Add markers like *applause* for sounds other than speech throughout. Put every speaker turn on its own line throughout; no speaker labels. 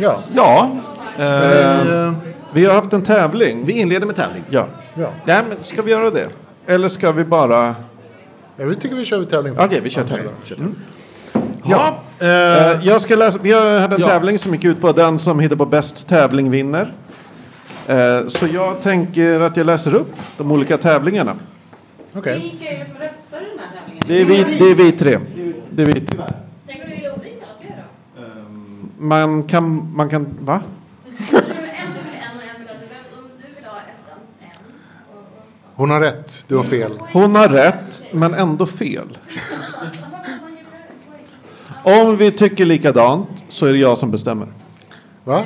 Ja.
Ja, eh,
Eh,
Vi har haft en tävling.
vi inleder med tävling.
Ja.
ja.
Nej, men ska vi göra det? Eller ska vi bara...
Ja, vi tycker vi kör tävling
Okej,
först.
vi kör tävling. Mm.
Ja, eh,
Eh, jag ska läsa. Vi har- hade en
Ja.
tävling som gick ut på att den som hittar på bäst tävling vinner. Eh, så jag tänker att jag läser upp de olika tävlingarna.
Okej.
Vilka är det som röstar i den här tävlingen?
Det är vi, det är vi tre. Det är vi.
Tänk om vi vill olika alla tre då?
Man kan... Man kan va?
En vill en och en vill en. Vem- Om du vill ha ettan, en. Och, och,
Hon har rätt, du har fel.
Hon har rätt, men ändå fel.
vad vill man ge för poäng?
Om vi tycker likadant så är det jag som bestämmer.
Va?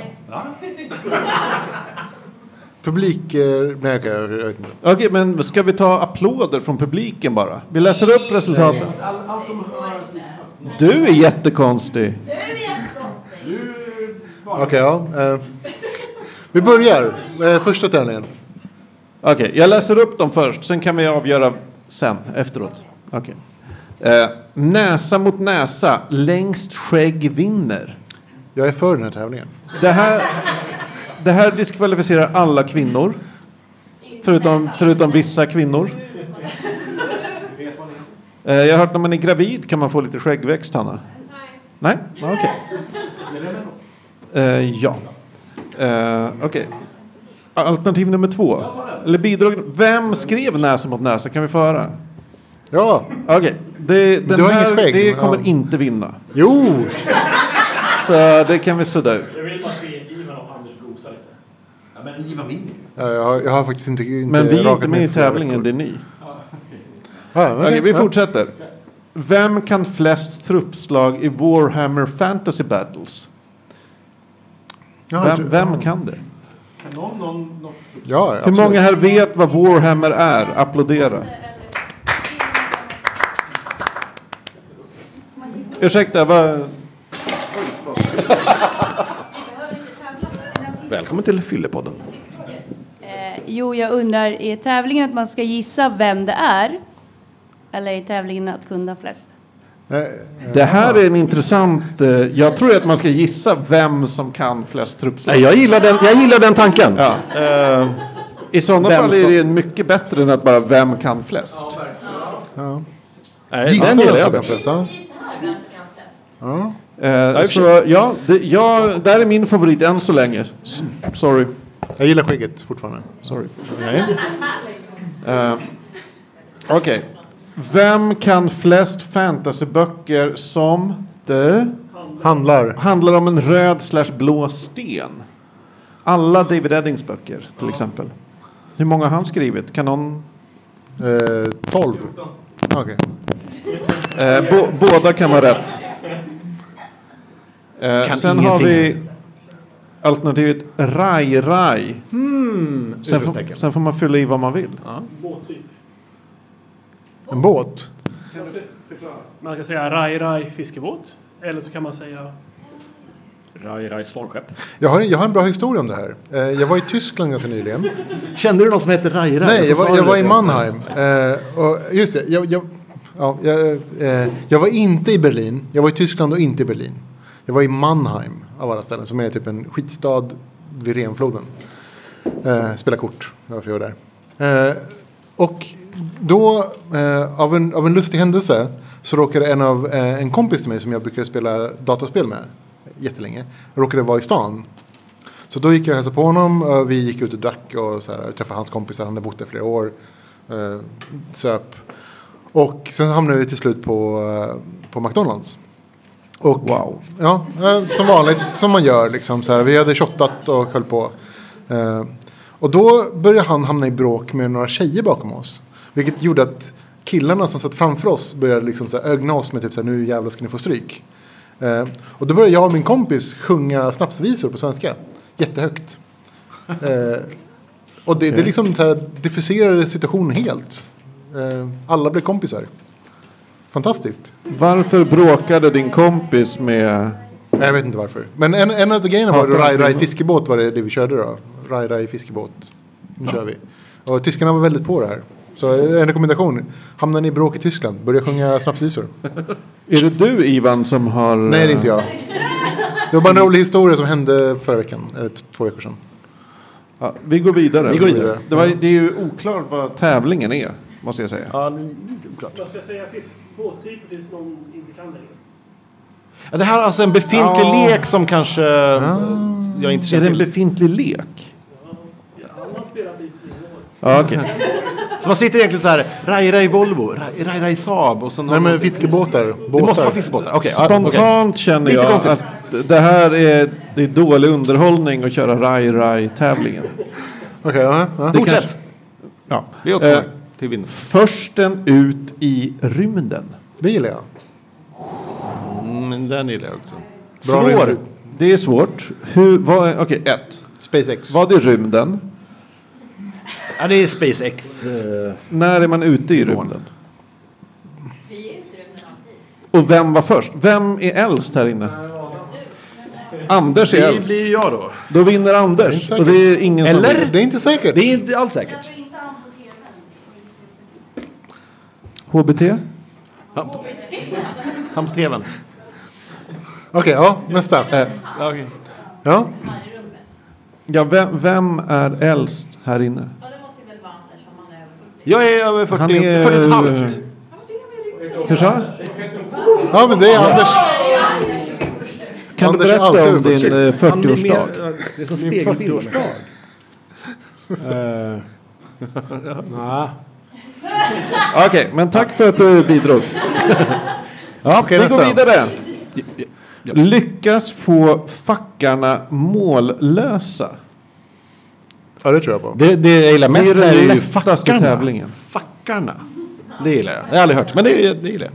Publik... eh, Nej, okej, jag vet inte.
Okej, men ska vi ta applåder från publiken bara? Vi läser upp resultaten. Du är jättekonstig.
Du är jättekonstig.
Okej, ja. eh, vi börjar. Eh, första tävlingen.
Okej, jag läser upp dem först, sen kan vi avgöra sen, efteråt. Okej. Eh, näsa mot näsa, längst skägg vinner.
Jag är för den här tävlingen.
Det här, det här diskvalificerar alla kvinnor. Förutom, förutom vissa kvinnor. Eh, jag har hört när man är gravid kan man få lite skäggväxt, Hanna.
Nej.
Nej, Ja, okej. Eh, ja. Eh, okej. Alternativ nummer två. Eller bidrag. Vem skrev Näsa mot näsa? Kan vi få höra?
Ja,
Okej, det, den
du har
här
inget skägg,
det
men-
kommer
ja.
inte vinna.
jo!
Så det kan vi sudda ut.
Jag vill bara se Ivan och Anders gosa lite.
Ja, men Ivan vinner ju.
Ja, Jag har, jag har faktiskt inte, inte
Men vi är inte
rakat
med
mig
i
flera
tävlingen,
veckor.
det är ni.
Ja, men
Okej,
det-
vi
ja.
fortsätter. Vem kan flest truppslag i Warhammer Fantasy Battles?
Ja,
Vem,
du-
vem kan det?
Kan någon, någon, någon...
Ja,
Hur
absolut.
många här vet vad Warhammer är? Applådera. Ursäkta, vad...
Välkommen till Fyllepodden.
Eh, Jo, jag undrar, är tävlingen att man ska gissa vem det är? Eller är tävlingen att kunna flest?
Nej,
Det här är en intressant... eh, Jag tror att man ska gissa vem som kan flest truppslag.
Nej, jag, gillar den, jag gillar den tanken.
Ja. I sådana
vem
fall
som-
är det mycket bättre än att bara vem kan flest.
Nej,
Gissa
den gillar
vem
jag.
som kan
bättre.
flest. ja.
Gissa här vem som kan flest.
Ja.
Eh, så, ja, det, ja, där är min favorit än så länge. S- Sorry.
Jag gillar skägget fortfarande.
Sorry. Eh, Okej. Vem kan flest fantasyböcker som det
Handlar.
handlar om en röd slash blå sten? Alla David Eddings böcker till exempel. Hur många har han skrivit? Kan någon...
Eh, 12. Okej.
Eh, bå- båda kan vara rätt. Eh,
Kan
sen har vi
ingenting.
alternativet Rai Rai. Sen, får,
Hmm. utropstecken.
sen får man fylla i vad man vill.
Båttyp.
En båt.
Man kan säga Rai Rai fiskebåt. Eller så kan man säga...
Raj, raj, slagskepp.
Jag har, jag har en bra historia om det här. Eh, jag var i Tyskland ganska nyligen.
Kände du någon som heter Rai Rai?
Nej,
Så
jag
sa
var,
du
jag var
det.
i Mannheim. Eh, och just det, jag, jag, ja, jag, eh, jag var inte i Berlin. Jag var i Tyskland och inte i Berlin. Jag var i Mannheim av alla ställen som är typ en skitstad vid Renfloden. Eh, spela kort, varför jag var där. Eh, och då, eh, av, en, av en lustig händelse, så råkade en, av, eh, en kompis till mig som jag brukade spela dataspel med jättelänge, råkade vara i stan. Så då gick jag och hälsade på honom. och Vi gick ut och drack och så här, träffade hans kompisar. Han hade bott där flera år. Eh, söp. Och sen hamnade vi till slut på, eh, på McDonalds. Och,
Wow.
Ja, eh, som vanligt som man gör. Liksom, så här, vi hade shottat och höll på. Eh, och då började han hamna i bråk med några tjejer bakom oss. Vilket gjorde att killarna som satt framför oss började liksom så här, ögna oss med typ så här, nu jävlar ska ni få stryk. Eh, och då började jag och min kompis sjunga snapsvisor på svenska. Jättehögt. Eh, och det, det liksom så här, diffuserade situationen helt. Eh, alla blev kompisar. Fantastiskt.
Varför bråkade din kompis med...
Nej, Jag vet inte varför. Men en, en av de grejerna var
Hatar
Rai Rai
kvinnor.
fiskebåt var det, det vi körde då. Rai Rai fiskebåt. Nu kör vi. Och tyskarna var väldigt på det här. Så en rekommendation. Hamnar ni i bråk i Tyskland, börja sjunga snapsvisor.
Är det du Ivan som har...
Nej, det är inte jag. Det var bara en rolig historia som hände förra veckan, eller t- två veckor sedan.
eh, Ja, vi går vidare.
Vi går vidare.
Det, var, det är ju oklart vad tävlingen är, måste jag säga.
Ja, det är oklart.
Vad ska jag säga? Finns båttyper tills någon inte kan det längre?
Ja, det här är alltså en befintlig
Ja.
lek som kanske jag inte
Är det
känner
en
till.
befintlig lek?
Han har spelat i tio år.
Ja, okej.
Så man sitter egentligen så här, Rai Rai Volvo, Rai Rai, rai Saab och sen...
Nej men fiskebåtar. Båtar.
Det måste vara fiskebåtar. Okej, ja, okej.
Spontant känner
Lite
jag
konstigt.
att det här är, det är dålig underhållning att köra Rai-Rai-tävlingen.
Okej, ja, ja.
Det
Fortsätt.
kanske- Ja.
Vi är också
Eh,
till vinnare.
Försten ut i rymden.
Det gillar jag.
Mm, den gillar jag också.
Svår.
rymd.
Det är svårt. Hur, vad, okej, ett.
SpaceX.
Vad är rymden?
Ja, det är SpaceX. eh,
När är man ute i rymden?
Vi är ute i rymden alltid.
Och vem var först? Vem är äldst här inne? Anders är
Det
äldst.
blir ju jag då.
Då vinner Anders. Och det är ingen som
Eller?
vinner.
Det är inte säkert.
Det är inte alls säkert.
Jag tror inte han på tvn.
HBT?
Han på tvn.
Okej, ja, nästa.
Eh,
Ja.
Han är i rummet.
ja, vem, vem är äldst här inne?
Ja, det måste ju väl vara Anders om han är över 40.
Jag är över 40,
Han är-
40 och ett halvt.
Hur sa jag?
ja, men det är Anders.
Kan
Anders
du
är alltid
berätta om
överförsiktig.
din eh, 40-årsdag?
Det är som spegelbilden.
Okej, men tack för att du bidrog. ja,
Okej,
vi går
nästa.
vidare. Lyckas få fackarna mållösa.
Ja, det tror jag på.
Det, det jag gillar
Det är
mest här
den
är ju
lättaste
fackarna.
tävlingen.
Fackarna. Det gillar jag. Jag har aldrig hört, men det, det gillar jag.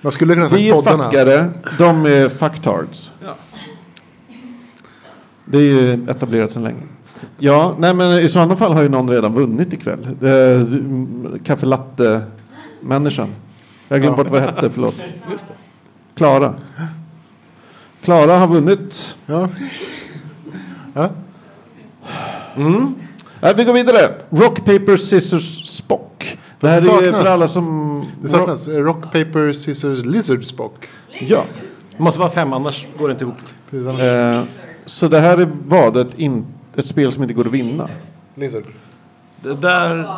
Man skulle kunna
Vi
säga
är
Alltså, poddarna.
fackare, de är fucktards. Det är ju etablerat sedan länge. Ja, nej men i sådana fall har ju någon redan vunnit ikväll. Eh, Kaffe latte-människan. Jag har glömt bort vad det hette, förlåt. Klara. Klara har vunnit.
Ja. Ja.
Mm. Nej, vi går vidare. Rock, paper, scissors, spock. Det här
Fast det
är ju för
saknas.
alla som...
Det saknas. Rock, paper, scissors, lizard, spock.
Ja.
Det måste vara fem, annars går det inte ihop.
Precis, annars-
Eh, så det här är vad? Ett, in, ett spel som inte går att vinna?
Lizard,
Det där...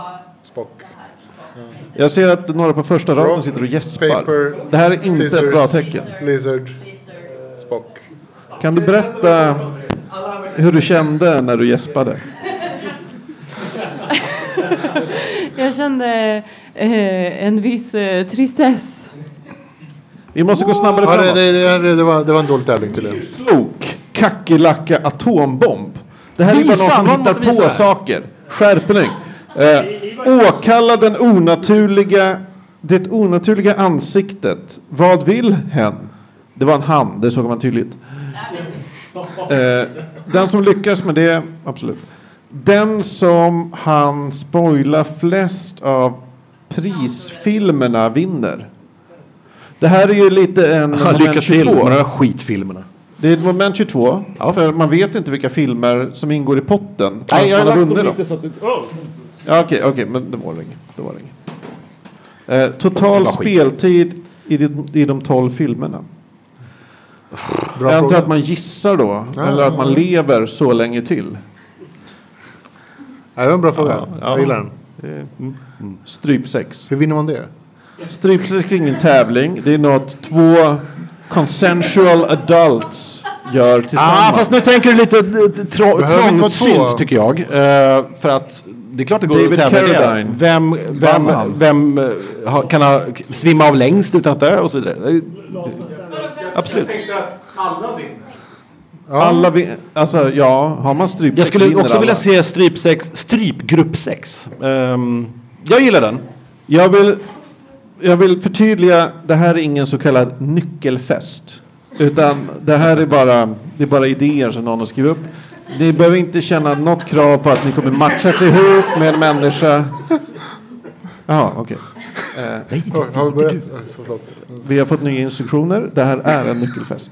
spock.
Jag ser att några på första raden
Rock,
sitter och gäspar.
paper,
det här är inte ett bra
scissors.
tecken.
Lizard, spock.
Kan du berätta hur du kände när du gäspade?
Jag kände eh, en viss eh, tristess.
Vi måste gå snabbare
Ja, det,
framåt.
det, det, det, det, var, det var en dålig tävling tydligen.
Slok, kackerlacka, atombomb. Det här är
Visa,
bara någon som
någon måste
hittar
visa
på
här.
saker. Skärpning. Eh, åkalla den onaturliga, det onaturliga ansiktet. Vad vill hen? Det var en han, det såg man tydligt. Eh, den som lyckas med det, absolut. Den som han spoilar flest av prisfilmerna vinner. Det här är ju lite en
Ja, *laughs* lycka
moment
till
22.
med de här skitfilmerna.
Det är ett moment 22. För man vet inte vilka filmer som ingår i potten. Nej,
Alltså,
jag har vunnit dem.
så att det...
Ja, okej, okej, men det var det inget. Det var det inget. Eh, total speltid i de, i de 12 filmerna.
Bra
jag antar
fråga.
att man gissar då,
Ja,
eller att man
ja.
lever så länge till.
Ja, det var en bra fråga.
Ja, ja.
Jag gillar den.
Strypsex.
Hur vinner man det?
Strypsex är ingen tävling. Det är något två consensual adults gör tillsammans.
Ah, fast nu tänker du lite eh, trå-
Behöver inte vara två.
trångsynt tycker jag. Eh, för att det är klart det går
David
att tävla i det.
Carradine.
Vem, vem, vem eh, ha- kan ha, k- svimma av längst utan att dö och så vidare. Det är ju- Absolut.
Alla vi, alltså, ja, har man strypsex
Jag skulle
vinner
också vilja
alla.
se strypsex, strypgruppsex. Ehm, jag gillar den.
Jag vill, jag vill förtydliga, det här är ingen så kallad nyckelfest. Utan det här är bara, det är bara idéer som någon har skrivit upp. Ni behöver inte känna något krav på att ni kommer matchas ihop med en människa. Jaha, okej.
Oj, har vi börjat? Oj, så förlåt.
Vi har fått nya instruktioner. Det här är en nyckelfest.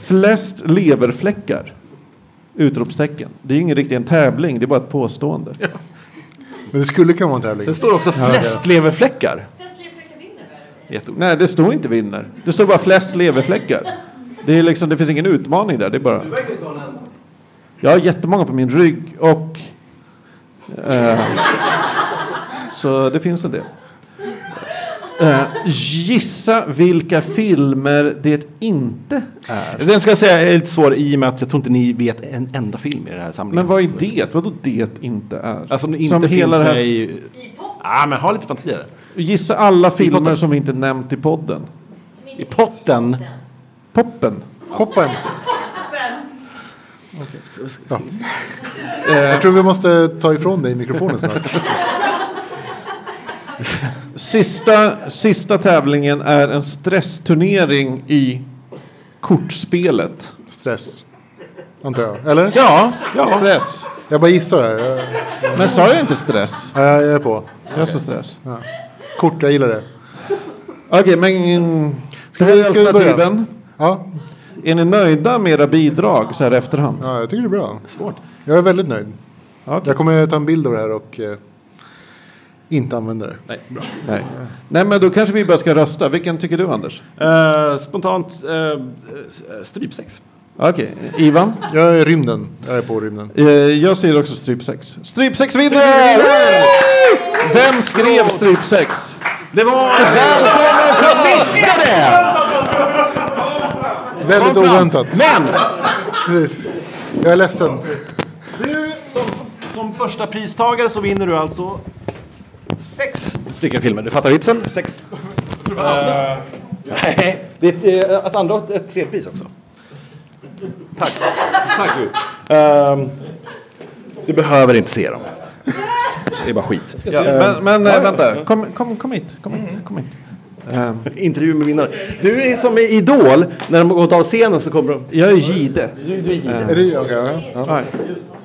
Flest leverfläckar. Utropstecken. Det är ju ingen riktig en tävling, det är bara ett påstående.
Men det skulle kunna vara en tävling.
Sen står det också flest leverfläckar.
Festliga Fräcka vinner väl?
Jätteord.
Nej, det står inte vinner. Det står bara flest leverfläckar. Det, är liksom, det finns ingen utmaning där. Det är bara... Jag har jättemånga på min rygg och... Eh, så det finns en del. Eh, gissa vilka filmer det inte är.
Den ska jag säga är lite svår i och med att jag tror inte ni vet en enda film i den här
Men
samlingen.
vad är det? Vadå det inte är?
Alltså, som inte
Som
finns
hela det här-
med i... Ah, men ha lite fantasi där.
Gissa alla filmer
potten.
som inte är nämnt i podden.
I potten.
Poppen.
Poppen. Ja. Jag tror vi måste ta ifrån dig mikrofonen snart.
Sista, sista tävlingen är en stressturnering i kortspelet.
Stress. Antar jag. Eller?
Ja, stress.
Jag bara gissar här. Jag,
Men sa jag inte stress?
ja, jag är på.
Jag sa stress.
Kort, jag gillar det.
Okej, men... Ska
vi- ska vi börja?
alternativen.
Ja,
Är ni nöjda med era bidrag så här i efterhand?
ja jag tycker det är bra. Svårt. Jag är väldigt nöjd.
Ja,
Jag kommer ta en bild av det här och eh, inte använda det.
Nej, bra.
Nej. Nej, men då kanske vi bara ska rösta. Vilken tycker du, Anders?
Eh, spontant uh, strypsex.
Okej, Ivan?
Jag är rymden. Jag är på rymden.
Eh, jag säger också strypsex. Strypsex vinner! Vem skrev strypsex?
Det var... Välkommen! Jag visste det!
Väldigt
Kom fram.
oväntat.
Men!
Precis. Jag är ledsen.
Du, som, som första pristagare så vinner du alltså sex stycken filmer. Du fattar vitsen? Sex. Eh, nej, det är ett, eh, ett andra och ett, ett tredje pris också. Tack. Tack du. Ehm, du behöver inte se dem. Det är bara skit.
Ja, men men eh, vänta, kom, kom, kom hit. Kom hit, kom hit. Ehm,
Intervju med vinnare. Du är som i Idol. När de har gått av scenen så kommer de...
jag är Gide.
Är det jag? Okay, ja.
Hej.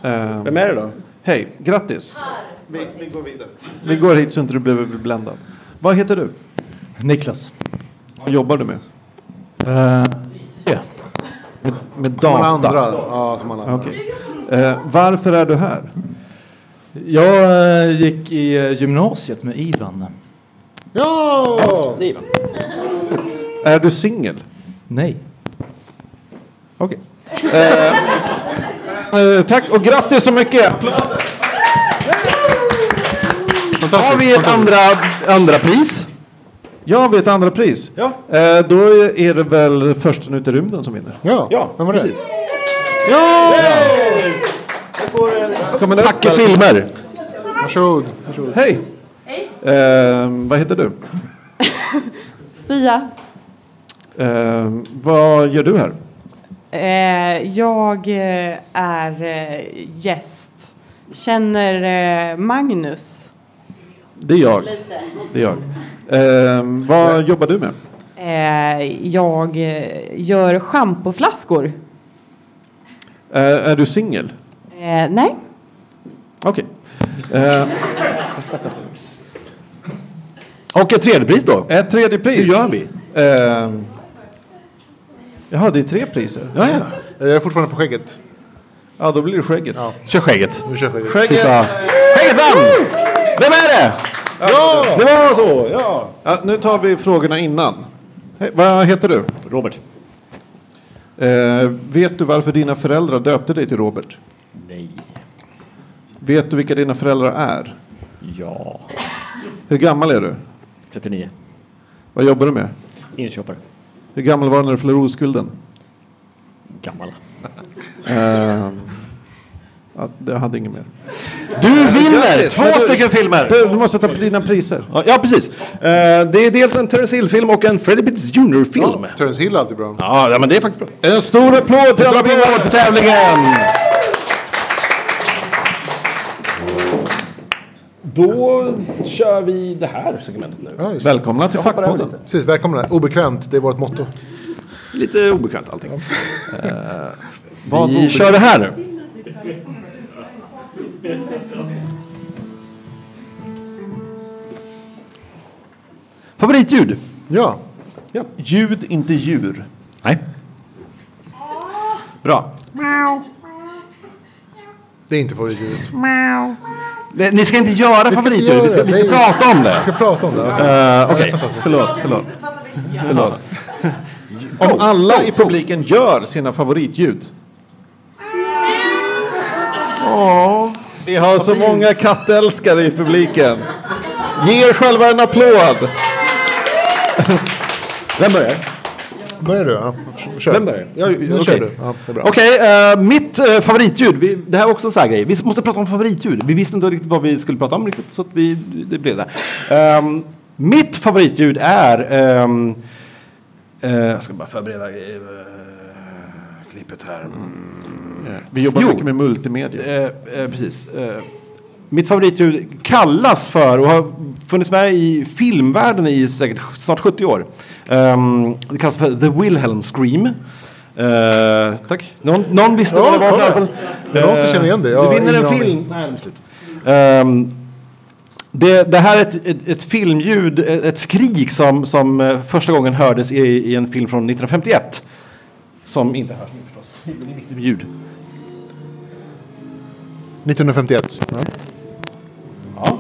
Ehm,
Vem är det då?
Hej, grattis. Vi, går vidare. Vi går hit så inte du blir bländad. Vad heter du?
Niklas.
Vad jobbar du med?
Eh, ja.
Med
Som alla
data.
andra. Ja, som alla andra.
Okej. Eh, varför är du här?
Jag eh, gick i eh, gymnasiet med Ivan.
Ja!
Är du singel?
Nej.
Okej. Eh, eh, tack och grattis så mycket!
Har vi ett andra, andra pris?
Jag vet andra pris.
Ja.
Eh, då är det väl försten ut i rymden som vinner.
Ja,
Ja,
vem var det?
precis.
Kommer det upp,
Packe
eller?
filmer.
Varsågod. Varsågod.
Hej! Eh, vad heter du?
Stia,
Eh, vad gör du här?
eh, jag eh, är eh, gäst. Känner eh, Magnus?
Det är jag. Det är jag. Eh, vad jobbar du med?
Eh, jag eh, gör schampoflaskor.
Eh, är du singel?
Eh, nej.
Okej. Eh,
Och ett tredje pris då.
ett tredje pris.
Hur gör vi?
Eh, jaha, det är tre priser.
Ja, ja.
Jag är fortfarande på skägget.
Ja, då blir det skägget.
Kör skägget.
Nu kör skägget.
Skägget!
Titta. Skägget vann! Vem är det?
Ja!
Det var så, ja.
Ja, nu tar vi frågorna innan. Hej, vad heter du?
Robert.
Eh, vet du varför dina föräldrar döpte dig till Robert?
Nej.
Vet du vilka dina föräldrar är?
Ja.
Hur gammal är du?
39.
Vad jobbar du med?
Inköpare.
Hur gammal var du när du förlorade oskulden?
Gammal.
Eh, ja, jag hade inget mer.
Du vinner
Grattis, men
två
du-
stycken filmer.
Du, du måste ta dina priser.
Ja, Ja, precis. Eh, Det är dels en Terence Hill-film och en Freddie Pitts Jr-film.
Ja, Terence Hill är alltid bra.
Ja, ja, men det är faktiskt bra.
En stor applåd till
En
alla
applåd för tävlingen! Då kör vi det här segmentet nu.
Ja, just. det.
Välkomna till
hoppar över
Fackpodden.
Precis, välkomna. Obekvämt, det är vårt motto.
Lite obekvämt allting. Eh,
Vad
vi
obekvämt?
kör det här nu. Favoritljud?
Ja,
Ja. Ljud, inte djur.
Nej. Bra.
det är inte favoritdjuret.
Det- Ni ska inte göra
Vi ska inte
favoritur,
göra
vi ska,
det.
vi ska
Det är-
prata om det.
Vi ska prata om det, ja.
Eh,
Ja, det är
Okej,
fantastiskt.
förlåt, förlåt.
Förlåt. *laughs* Om alla i publiken gör sina favoritljud. Åh, vi har så många kattälskare i publiken. Ge er själva en applåd. Vem börjar?
Börjar du? Ja. Kör.
Vem börjar? Ja,
Nu
okej.
kör du. Ja, det är bra.
Okej, eh, mitt eh, favoritljud. Vi, det här är också en sån här grej. Vi måste prata om favoritljud. Vi visste inte riktigt vad vi skulle prata om riktigt, så att vi, det blev det. Ehm, mitt favoritljud är... ehm, eh, jag ska bara förbereda eh, klippet här. Mm.
Vi jobbar
Jo.
mycket med multimedia.
Eh, eh, precis. Eh, mitt favoritljud kallas för och har funnits med i filmvärlden i säkert snart 70 år. Ehm, det kallas för The Wilhelm Scream. Eh, tack. Någon, någon visste
Ja,
vad det var
kolla.
för album?
Det är någon som
Eh,
känner igen det. Jag
du
har
vinner en
ingen
film. Nej, det är slut. Ehm, det, det här är ett, ett, ett filmljud, ett, ett skrik som, som eh, första gången hördes i, i en film från 1951. Som inte hörs nu förstås. Det är viktigt med ljud.
1951. Ja.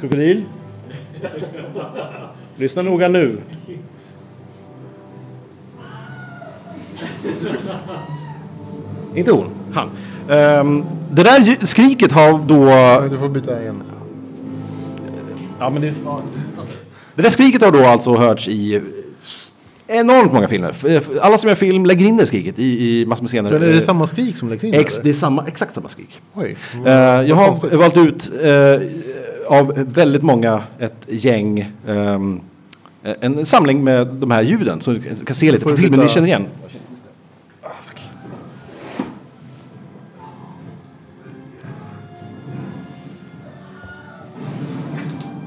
Krokodil. Lyssna noga nu. Inte hon, han. Ehm, det där lju- skriket har då...
Nej, Du får byta igen.
Ja, men det, är snart. det där skriket har då alltså hörts i enormt många filmer. F- Alla som gör film lägger in det skriket i, i massor med scener.
Men är
Eh,
det samma skrik som läggs in?
Ex, det
eller?
är samma, exakt samma skrik.
Oj.
Eh, jag har
konstigt.
valt ut eh, av väldigt många ett gäng, ehm, en samling med de här ljuden så du kan se lite
Får
på
du
filmen ni
byta-
känner igen. Ah,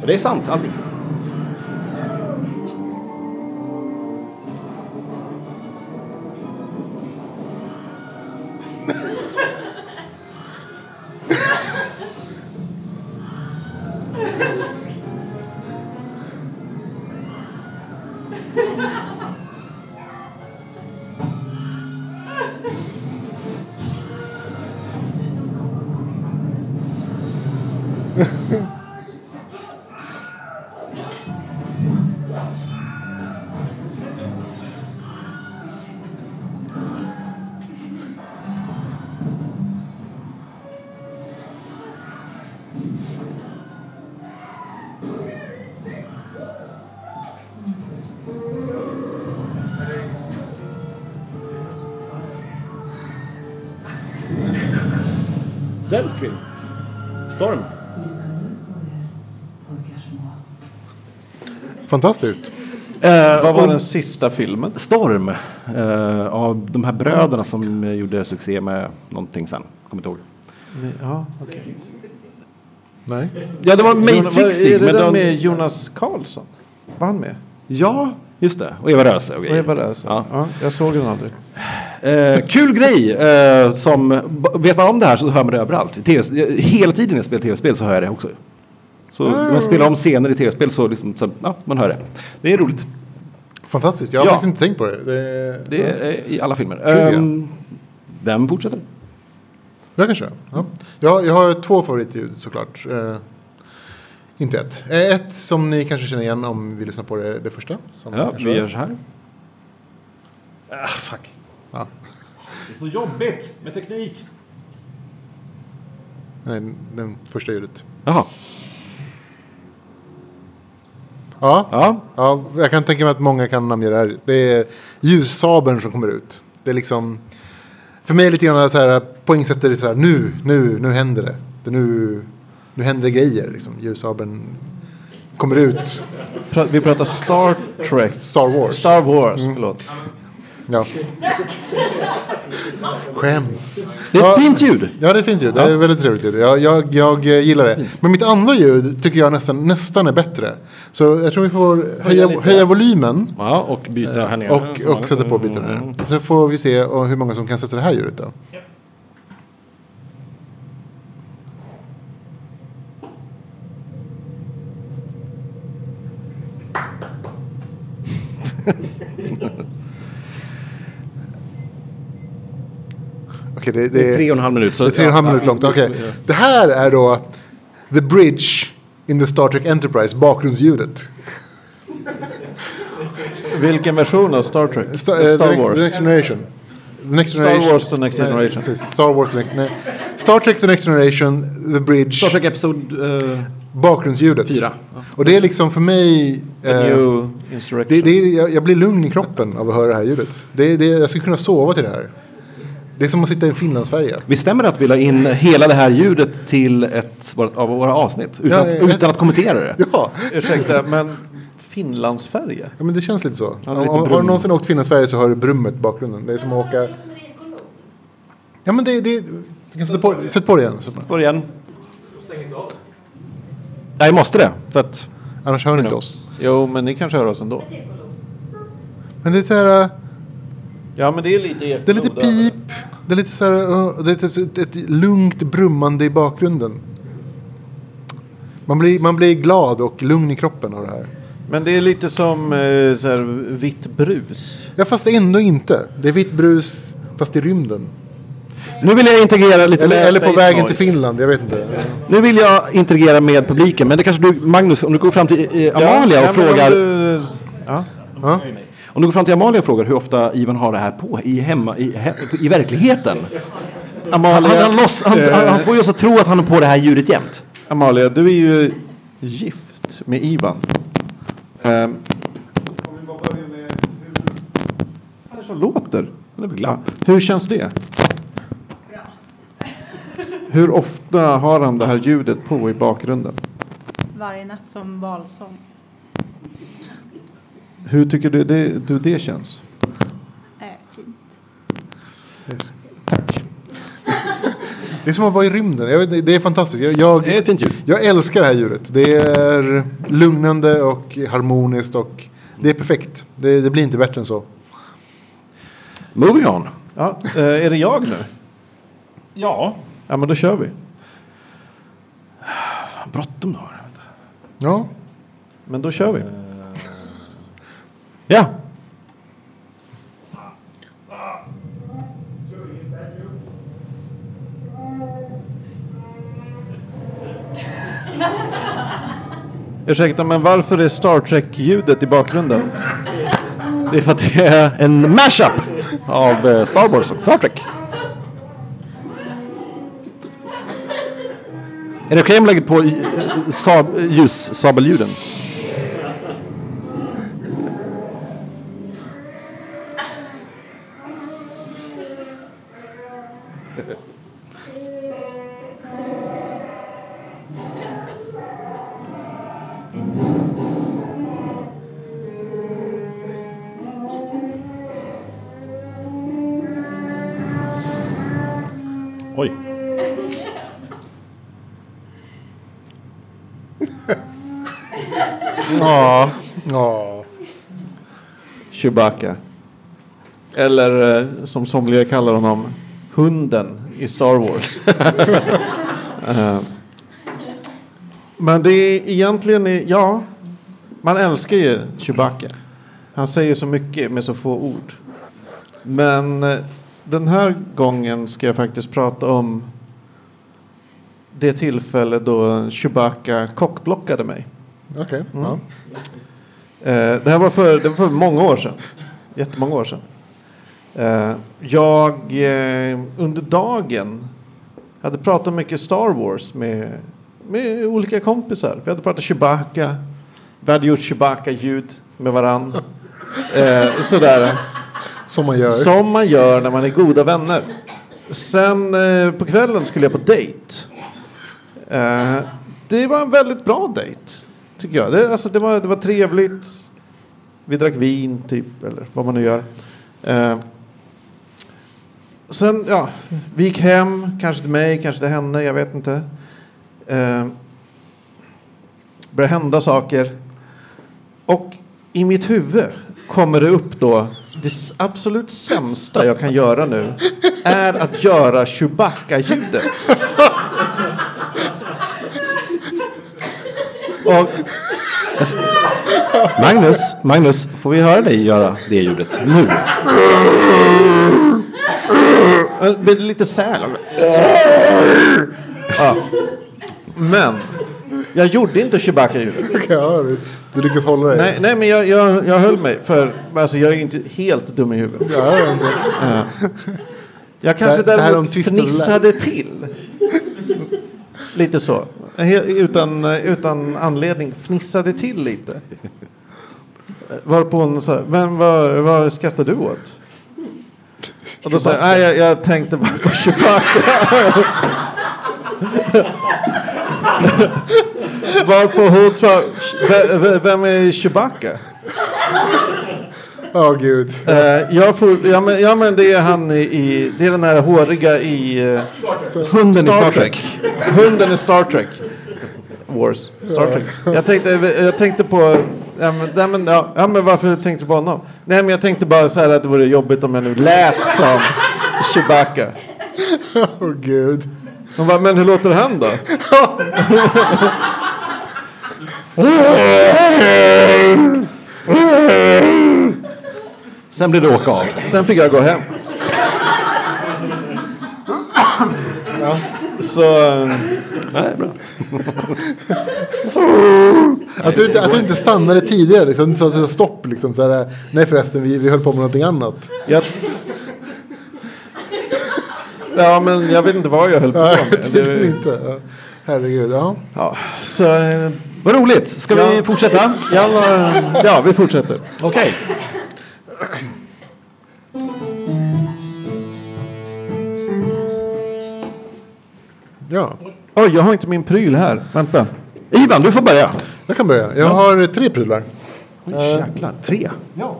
Och Det är sant, allting. Svensk film. Storm.
Fantastiskt.
Vad var den sista filmen?
Eh, Storm eh, av de här bröderna som eh, gjorde succé med någonting sen. Kommer inte ihåg.
Ja,
Nej.
Ja, det var Matrix.
Matrix. Är det
men
den
de-
med Jonas Karlsson? Var han med?
Ja, just det. Och Eva Röse och
Och
grejer.
Ebba Röse?
Ja.
alltså? Ja, jag såg den aldrig.
Eh, kul grej. Eh, som, b- vet man om det här så hör man det överallt. I TV, eh, hela tiden när jag spelar tv-spel så hör jag det också. Så när
Ah.
man spelar om scener i tv-spel så, liksom, så ja, man hör det. Det är roligt.
Fantastiskt. Jag har
Ja.
faktiskt inte tänkt på det. det...
Det är eh, i alla filmer.
Trivia.
Ehm, vem fortsätter?
Jag kan köra. Ja. Jag, jag har två favoritljud såklart. Eh, inte ett. Eh, Ett som ni kanske känner igen om vi lyssnar på det, det första. Som
Ja,
kanske
vi
var-
gör så här. Ah, fuck.
Ja.
Det är så jobbigt med teknik.
Nej, det första ljudet.
Jaha.
Ja. Ja.
Ja.
jag kan tänka mig att många kan namnge det här. Det är ljussabeln som kommer ut. Det är liksom... För mig är det lite grann så här, poängsätter det så här, nu, nu, nu händer det. det nu, nu händer det grejer, liksom. Ljussabeln kommer ut.
Pra- Vi pratar Star Trek.
Star Wars.
Star Wars,
Mm.
förlåt.
Ja. Skäms.
Det är ett
Ja.
fint ljud.
Ja, det är ett fint ljud. Det är ett väldigt trevligt ljud. Jag, jag, jag eh, gillar det. Men mitt andra ljud tycker jag nästan, nästan är bättre. Så jag tror vi får höja, höja volymen
Ja, och byta här nere.
och, och sätta på bitarna. här. Så får vi se eh, hur många som kan sätta det här ljudet då. *laughs* Okej, det,
Det är tre och en halv minut, så-
det är tre och en halv
ja,
minut
ja.
långt. Okej. Det här är då The Bridge in the Star Trek Enterprise, bakgrundsljudet.
Vilken version av Star Trek?
Star, eh, the
Star
next,
Wars?
The Next Generation. The Next
Star
Generation.
Wars, The Next
Nej,
Generation.
precis. Star Wars The Next nej. Star Trek The Next Generation, The Bridge. Star
Trek Episod...
Eh, bakgrundsljudet.
fyra.
Och det är liksom för mig... eh,
The New
det, det är, jag, jag blir lugn i kroppen av att höra det här ljudet. Det, det, jag skulle kunna sova till det här. Det är som att sitta i en Finlandsfärja. *laughs*
Vi stämmer att vi la in hela det här ljudet till ett vårt- av våra avsnitt utan,
Ja,
att,
ja, ja.
utan att kommentera det.
Ja.
Ursäkta, men Finlandsfärja?
Ja, men det känns lite så.
Ja,
om,
lite
om, har du
brum.
någonsin åkt Finlandsfärja så hör du brummet i bakgrunden. Det är som att åka... Ja, men det... det du kan sätta, på, sätt på det igen. Sätt
på det igen. Nej, måste det. För att...
Annars hör ni inte oss.
Jo, men ni kanske hör oss ändå.
Men det är så här... äh,
Ja, men det är lite
Det är lite pip. Det är lite så här... äh, Det är ett, ett, ett lugnt brummande i bakgrunden. Man blir, man blir glad och lugn i kroppen av det här.
Men det är lite som eh, så här, vitt brus.
Ja, fast ändå inte. Det är vitt brus, fast i rymden.
Nu vill jag integrera lite
eller,
mer
eller på
space
vägen
noise.
till Finland, jag vet inte.
Nu vill jag interagera med publiken, men det kanske du, Magnus, om du går fram till eh, Amalia
ja,
och
men om
frågar...
du- ja.
Om du går fram till Amalia och frågar hur ofta Ivan har det här på i, hemma, i, he, i verkligheten. Amalia, han, han, loss, han,
eh,
han, han får ju oss att tro att han har på det här ljudet jämt.
Amalia, du är ju gift med Ivan. Ehm. Vad är det som låter? Det blir glatt. Hur känns det? Hur ofta har han det här ljudet på i bakgrunden?
Varje natt som valsång.
Hur tycker du det, du det känns?
Eh, fint.
Det är som att vara i rymden. Jag vet, inte, det är fantastiskt. Jag, jag,
det är ett fint ljud.
Jag älskar det här ljudet. Det är lugnande och harmoniskt och det är perfekt. Det, det blir inte bättre än så.
Moving on.
Ja, eh, är det jag nu?
Ja.
Ja, men då kör vi.
Fan, Bråttom då.
Ja.
Men då kör vi.
Ja.
Ursäkta, men varför är Star Trek-ljudet i bakgrunden?
Det är för att det är en mashup av eh, Star Wars och Star Trek. Är det okej om jag lägger på eh, sab, ljussabeljuden?
Oj.
Ja.
Ja.
Chewbacca. Eller eh, som somliga kallar honom, hunden i Star Wars. Eh, Men det är egentligen, är- ja, man älskar ju Chewbacca. Han säger så mycket med så få ord. Men eh, den här gången ska jag faktiskt prata om det tillfälle då Chewbacca kockblockade mig.
Okej.
Mm.
Ja.
Eh, det här var för, det var för många år sedan. Jättemånga år sedan. Eh, jag eh, under dagen hade pratat mycket Star Wars med, med olika kompisar. Vi hade pratat Chewbacca. Vi hade gjort Chewbacca-ljud med varann. Eh, sådär.
Som man gör.
Som man gör när man är goda vänner. Sen eh, på kvällen skulle jag på dejt. Eh, det var en väldigt bra dejt, tycker jag. Det, alltså, det, var, det var trevligt. Vi drack vin, typ, eller vad man nu gör. Eh, sen, ja, vi gick hem, kanske till mig, kanske till henne, jag vet inte. Eh, började hända saker. Och i mitt huvud kommer det upp då det s- absolut sämsta jag kan göra nu är att göra Chewbacca-ljudet. Och
Magnus, Magnus, får vi höra dig göra det ljudet nu?
Eh, det är Lite säl. Ja. Men jag gjorde inte Chewbacca-ljudet.
du, du lyckas hålla dig.
Nej, nej men jag, jag, jag höll mig. För alltså, jag är ju inte helt dum i huvudet.
Ja, jag vet inte.
Ja. Jag kanske
Det här- det här är
däremot
om tysta
fnissade
lä-
till. Lite så. He- Utan, utan anledning fnissade till lite. Varpå hon sa, men vad, vad skrattar du åt? Och då sa jag, nej jag, jag tänkte bara på Chewbacca. *laughs* Varpå hon sa, "Ve- ve- vem är Chewbacca?
Åh gud.
Eh, jag får, ja, men, ja men det är han i, i det är den här håriga i eh, hunden i Star Trek. Hunden i Star Trek. Wars. Star Trek. Jag tänkte, jag tänkte på, ja men, nej, men, ja, ja, men varför tänkte du på honom? Nej men jag tänkte bara så här att det vore jobbigt om jag nu lät som Chewbacca.
Åh gud.
De bara, men hur låter han då?
Sen blev det åka av.
Sen fick jag gå hem. Så, eh, nej bra.
Att du, inte, att du inte stannade tidigare, liksom, så att du sa stopp. Liksom, så här, nej förresten, vi, vi höll på med någonting annat.
Jag... Ja, men jag vet inte vad jag höll på
*laughs*
med.
Tydligen
Det-
inte. Ja. Herregud, ja.
Ja, så... eh,
Vad roligt. Ska vi fortsätta?
Ja, eh, ja, vi fortsätter.
Okej.
ja.
Oj, jag har inte min pryl här. Vänta. Ivan, du får börja.
Jag kan börja. Jag har tre prylar.
Oj, jäklar. Tre?
Ja.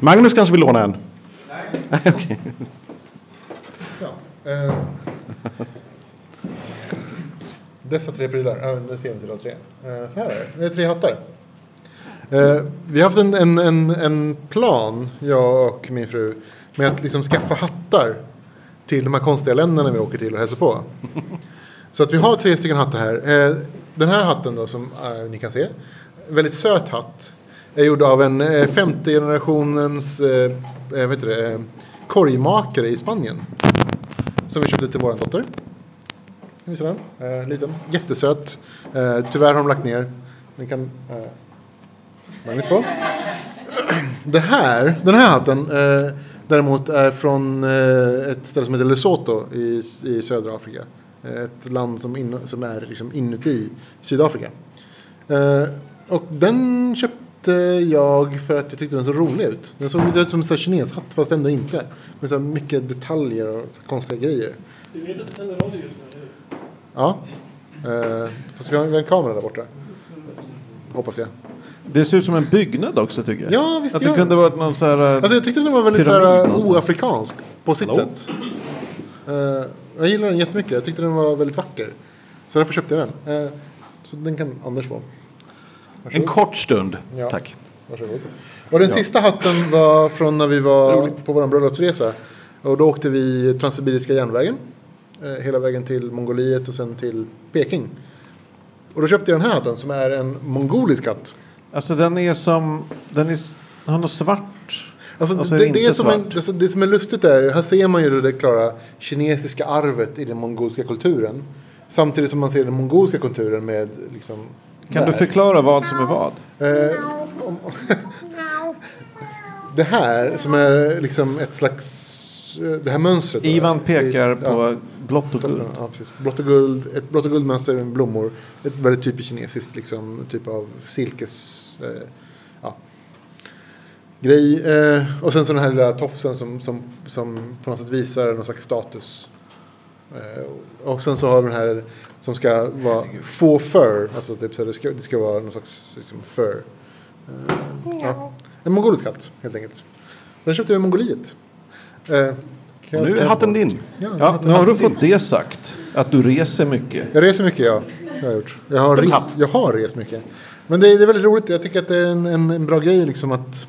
Magnus kanske vill låna en? Nej.
Eh, Dessa tre prylar. Ja, nu ser vi till de tre. Eh, Så här är det. Det är tre hattar. Eh, Vi har haft en, en, en, en plan, jag och min fru, med att liksom skaffa hattar till de här konstiga länderna vi åker till och hälsar på. Så att vi har tre stycken hattar här. Eh, Den här hatten då som eh, ni kan se, en väldigt söt hatt, är gjord av en eh, femte generationens eh, eh, vet det, eh, korgmakare i Spanien. Som vi köpte till vår dotter. Kan vi visa den? Eh, liten, jättesöt. Eh, tyvärr har de lagt ner. Den kan eh, Magnus få. *clears throat* Det här, den här hatten eh, däremot är från eh, ett ställe som heter Lesotho i, i södra Afrika. Eh, Ett land som, in, som är liksom inuti Sydafrika. Eh, och den köpte jag för att jag tyckte den såg rolig ut. Den såg lite ut som en sån här kineshatt fast ändå inte. Med så här mycket detaljer och så här konstiga grejer.
Du vet att du sänder radio just nu, eller hur?
Ja. Eh, fast vi har, vi har en kamera där borta. Hoppas jag.
Det ser ut som en byggnad också, tycker jag.
Ja, visst
Att
gör
det
det.
kunde varit någon så här... eh,
Alltså jag tyckte den var väldigt
pyramid
såhär,
någonstans.
oafrikansk på sitt
Hallå?
sätt. Eh, jag gillar den jättemycket. Jag tyckte den var väldigt vacker. Så därför köpte jag den. Eh, så den kan Anders få.
En kort stund.
Ja.
Tack.
Varsågod. Och den
Ja.
sista hatten var från när vi var på vår bröllopsresa. Och då åkte vi Transsibiriska järnvägen. Eh, hela vägen till Mongoliet och sen till Peking. Och då köpte jag den här hatten som är en mongolisk hatt.
Alltså den är som... Den är, s- har något svart.
Alltså,
Alltså,
det, det,
inte
är som en, alltså, det som är lustigt är, här ser man ju det klara kinesiska arvet i den mongolska kulturen. Samtidigt som man ser den mongolska kulturen med liksom...
Kan du
där.
förklara vad som är vad?
Eh, om- det här som är liksom ett slags... eh, Det här mönstret.
Ivan pekar
Ja.
på blått och guld.
Ja, precis. Blått och guld, ett blått och guldmönster med blommor. Ett väldigt typiskt kinesiskt liksom, typ av silkes... Eh, ja, grej. Eh, och sen så den här lilla tofsen som, som, som på något sätt visar någon slags status. Eh, och sen så har vi den här som ska vara faux fur. Alltså typ så här, det, ska, det ska vara någon slags liksom, fur. Eh, ja. En mongolisk hatt helt enkelt. Den köpte jag i Mongoliet. Eh, kan jag-
Nu
kan
är
jag-
hatten din.
Ja,
Ja,
hatten-
nu har du
hatten din.
fått det sagt. Att du reser mycket.
Jag reser mycket, ja. Jag har, gjort. Jag har,
Den
re-
hatt.
jag har rest mycket. Men det är, det är väldigt roligt. Jag tycker att det är en, en, en bra grej liksom att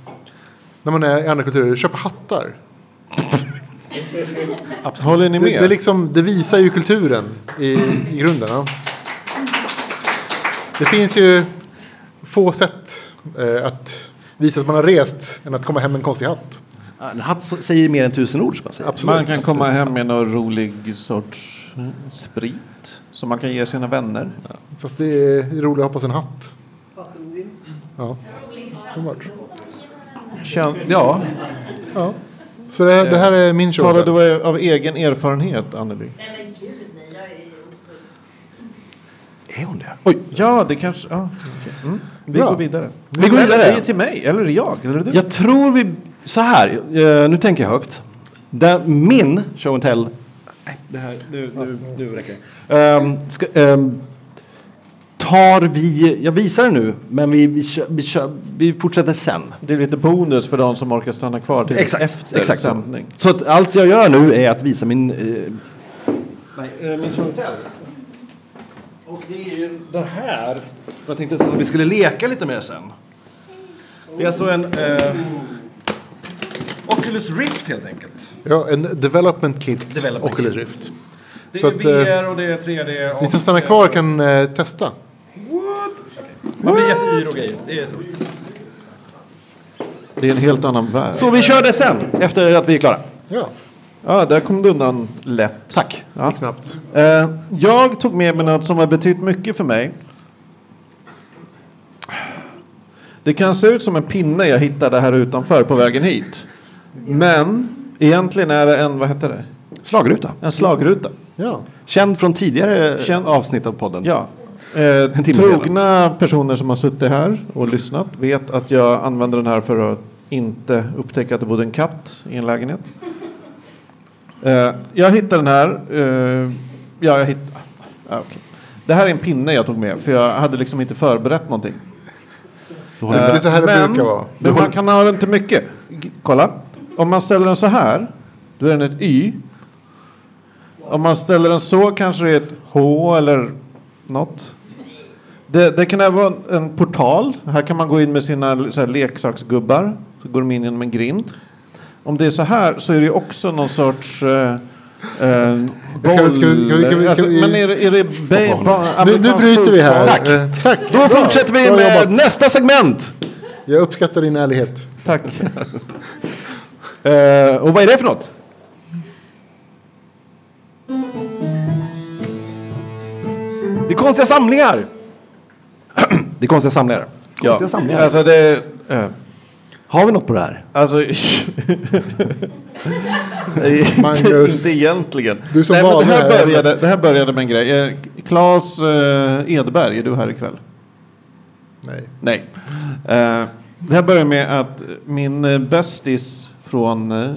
när man är i andra kulturer, köpa hattar.
Håller ni
Det,
med?
det, är liksom, det visar ju kulturen i, i grunden. Ja. Det finns ju få sätt eh, att visa att man har rest än att komma hem med en konstig hatt.
En hatt så- säger mer än tusen ord. Som man, säger.
Man kan komma hem med någon rolig sorts sprit som man kan ge sina vänner.
Fast det är roligt att ha på sig en hatt. Ja.
Kän- ja.
ja. Så det, här- det här är min show.
Talar du av egen erfarenhet, Anneli?
Nej men gud nej, jag är oskuld.
Är hon det?
Oj, ja, det kanske... Ja, okej. mm. Vi
Bra.
går vidare.
Vi går vidare.
Eller, det är till mig, eller är det jag, eller är det du?
Jag tror vi... Så här, eh, nu tänker jag högt. Där min show and tell... Nej, det här, nu, nu, nu räcker det. Ehm, ska, ehm, tar vi... Jag visar det nu, men vi, vi, kö- vi, kö- vi fortsätter sen.
Det är lite bonus för de som orkar stanna kvar till
Exakt,
efter
exakt så.
sändning.
Så att allt jag gör nu är att visa min... Eh, Nej, eh, min show and tell. Och det är ju det här. Jag tänkte att vi skulle leka lite mer sen. Det är alltså en... Eh, Oculus Rift helt enkelt.
Ja, en development kit.
Development
Oculus
kit.
Rift.
Det
Så
är
att, eh,
VR och det är 3D. Och
ni som stannar kvar kan eh, testa.
Det blir jätteyr och grejer. Det är tråkigt.
Det är en helt annan värld.
Så vi kör det sen, efter att vi är klara.
Ja.
Ja, där kom du undan lätt.
Tack.
Ja.
Snabbt.
Eh, jag tog med mig något som har betytt mycket för mig. Det kan se ut som en pinne jag hittade här utanför på vägen hit. Men egentligen är det en, vad heter det?
Slagruta.
En slagruta.
Ja.
Känd från tidigare
Känd-
avsnitt av podden.
Ja. Eh,
timme
trogna personer som har suttit här och lyssnat vet att jag använder den här för att inte upptäcka att det bodde en katt i en lägenhet. Eh, jag hittade den här. Eh, ja, jag hitt... ah, okej. Det här är en pinne jag tog med för jag hade liksom inte förberett någonting.
Det är så här det
men,
brukar vara.
Men man kan ha den till mycket. G- Kolla. Om man ställer den så här, då är den ett Y. Om man ställer den så kanske det är ett H eller något. Det, det kan även vara en- en portal. Här kan man gå in med sina så här, leksaksgubbar. Så går de in genom en grind. Om det är så här så är det ju också någon sorts... Eh, eh,
ska vi- ska vi- ska vi- ska
boll.
vi-
Alltså, Men är det... Är det ba- ba-
Nu, nu
amerikansk
bryter vi här.
fotboll?
Tack.
Eh, tack.
Då fortsätter vi
Bra
med
jobbat.
nästa segment.
Jag uppskattar din ärlighet.
Tack.
*laughs* Eh, och vad är det för något? Det är konstiga samlingar. *clears throat* det är konstiga samlingar. Konstiga
Ja.
samlingar.
Alltså det... eh,
Har vi något på det här?
Alltså... Nej,
*laughs* Magnus.
Inte egentligen.
Du som
Nej, men det,
vanlig
här
här.
började, det här började med en grej. Eh, Claes eh, Edberg, är du här ikväll?
Nej.
Nej. Eh, det här började med att min eh, bästis från eh,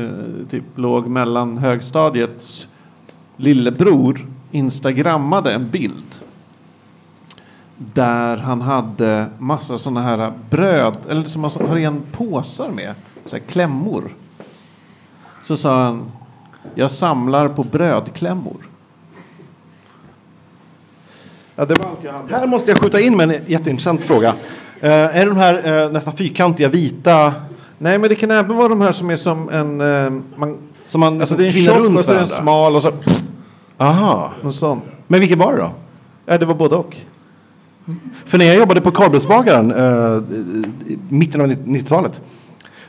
eh, typ låg mellan högstadiets lillebror instagrammade en bild där han hade massa sådana här bröd, eller som man har igen påsar med, så här klämmor. Så sa han, jag samlar på brödklämmor. Ja, det var allt jag hade.
Här måste jag skjuta in med en jätteintressant fråga. Eh, är det de här eh, nästan fyrkantiga vita
Nej, men det kan även vara de här som är som en... eh, Man,
som man
alltså det är en
tvinnar
tjock
runt
och så är det en
varandra?
smal och så...
Aha.
En sån.
Men vilket var det då?
Ja, det var både och.
För när jag jobbade på Karlbergsbagaren eh, i mitten av 90-talet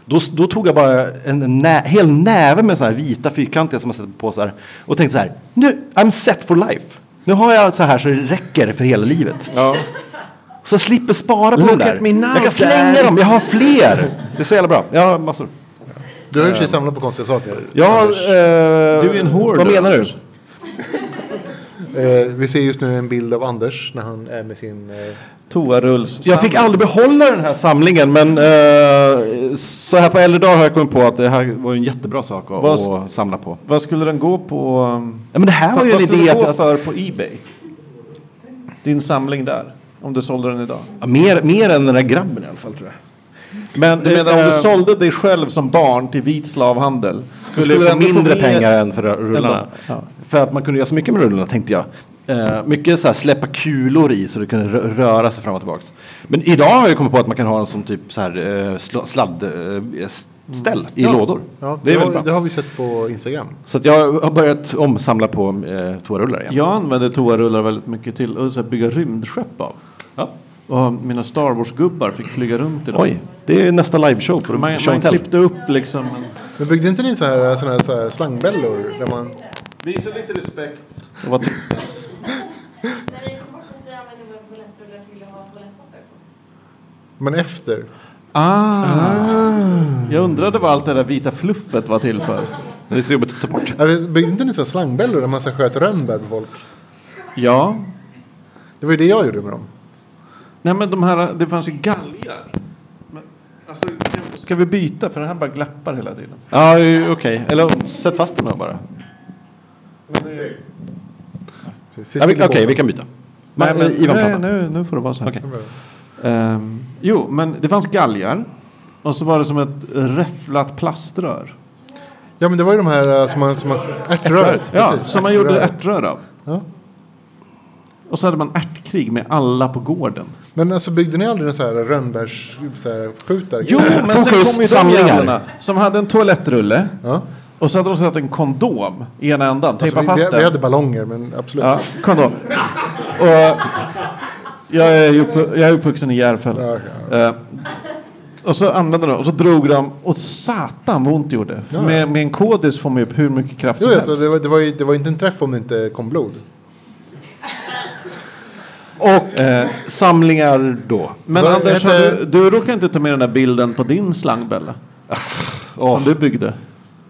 då, då tog jag bara en nä, hel näve med såna här vita fyrkantiga som man sätter på påsar och tänkte så här, nu, I'm set for life. Nu har jag så här så det räcker för hela livet.
Ja.
Så jag slipper spara på
Look
dem där.
at me now,
jag kan slänga
Dad.
dem, jag har fler. Det är så jävla bra. Jag har massor.
Du har ju i och för sig samlat på konstiga saker.
Ja, eh,
Du är en hoarder.
Vad menar du?
Eh, vi ser just nu en bild av Anders när han är med sin... Eh,
Toarulls.
Jag fick aldrig behålla den här samlingen men eh, så här på äldre dagar har jag kommit på att det här var en jättebra sak att,
Vad sk-
att samla på.
Vad skulle den gå på? ehm,
Ja, men det här var ju
vad
en
skulle
idé
den gå
att, att
för på Ebay? Din samling där. Om du sålde den idag.
ja, mer, mer än den där grabben i alla fall tror jag. Men
Du menar om du
eh,
sålde dig själv som barn till vit slavhandel?
du skulle,
du
få
ändå
mindre
mer-
pengar än för rullarna.
Eller- ja.
För att man kunde göra så mycket med rullarna tänkte jag. Eh, mycket så här släppa kulor i så det kunde rö- röra sig fram och tillbaks. Men idag har jag kommit på att man kan ha dem som typ så här eh, sl- sladd eh, s- ställ i lådor.
ja,
det är väl
har,
bra.
det har vi sett på Instagram.
Så att jag har börjat omsamla på eh, toarullar igen.
Jag använde toarullar väldigt mycket till att så här bygga rymdskepp av.
Ja.
Och mina Star Wars-gubbar fick flyga runt i dem.
Oj, det är nästa liveshow på
Man,
Show
man
and Tell.
klippte upp liksom.
Men byggde inte ni så här, såna här, så här slangbällor? Där man...
Visa lite respekt.
Och vad ty-
När ni kom bort efter använde våra toalettrullar till att ha toalettpapper på.
Men efter?
Ah. Jag undrade vad allt det där vita fluffet var till för.
Det är så jobbigt att ta bort.
Byggde inte ni så här slangbällor där man så här sköt rönnbär på folk?
Ja.
Det var ju det jag gjorde med dem.
Nej men de här, det fanns ju galgar. Men, alltså, ska vi byta? För den här bara glappar hela tiden.
Ja, ju- okej. Eller sätt fast den här bara. Ja, vi- Okej, vi kan byta.
Nej, men,
Ivan
nej,
pratar.
nu, nu får det vara så här.
Okej.
Ehm, jo, men det fanns galgar. Och så var det som ett räfflat plaströr.
Ja men det var ju de här eh, som man... Som man ärtröret.
Ja,
precis.
som man gjorde
Ärtröret.
ärtrör av.
Ja.
Och så hade man ärtkrig med alla på gården.
Men alltså byggde ni aldrig någon så här rönnbärsskjutare?
Jo, men sen kom ju de jävlarna som hade en toalettrulle. Och så hade de satt en kondom i ena ändan.
Alltså,
Tejpa
vi,
fast
vi,
den.
vi hade ballonger men absolut.
Ja, kondom. Och jag är, ju upp, jag är uppvuxen i Järfälla. Eh, och så använde de och så drog de. Och satan vad ont det gjorde.
Ja.
Med, med en kodis får man ju upp hur mycket kraft
Jo,
som
alltså,
helst.
det, var, det, var ju, det var inte en träff om det inte kom blod.
Och eh, samlingar då.
Men
Vad
Anders, har
heter-
du, du råkar inte ta med den där bilden på din slangbälla? Som du byggde?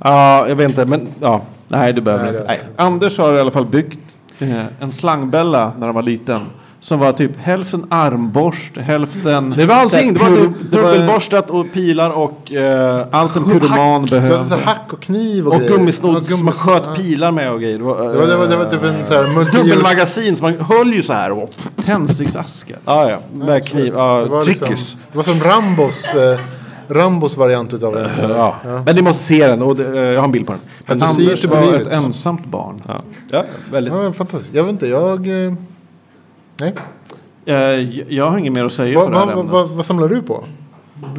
Ja, jag vet inte, men ja.
Nej, du behöver
Nej,
inte.
det-
Nej. Anders har i alla fall byggt eh, en slangbälla när han var liten. Som var typ hälften armborst, hälften...
Det var allting. Det var
pur-
typ
det var-
dubbelborstat och pilar och... Eh,
Allt en pyroman
hack.
Det var så
behövde.
här hack och kniv och,
Och
grejer.
gummisnodd
Ja,
som man
gummisnodd.
sköt pilar med och grejer. Det var,
Det var- det var- det var typ en så här multi-
Dubbelmagasin som man höll ju så här. Och,
Tändsticksaskar.
ja, ja. Med
absolut.
kniv. Ja,
Det var
trickus.
liksom- Det var som Rambos, eh, Rambos variant utav en.
Ja. Men ni måste se den. Och det, eh, jag har en bild på den.
Men du ser
Anders
inte
var
på
ett
livet.
ensamt barn.
Ja, ja väldigt.
Ja, men fantastiskt. Jag vet inte, jag... eh, Nej.
Eh, jag har inget mer att säga
Vad
på det här
vad-
ämnet.
vad- vad samlar du på?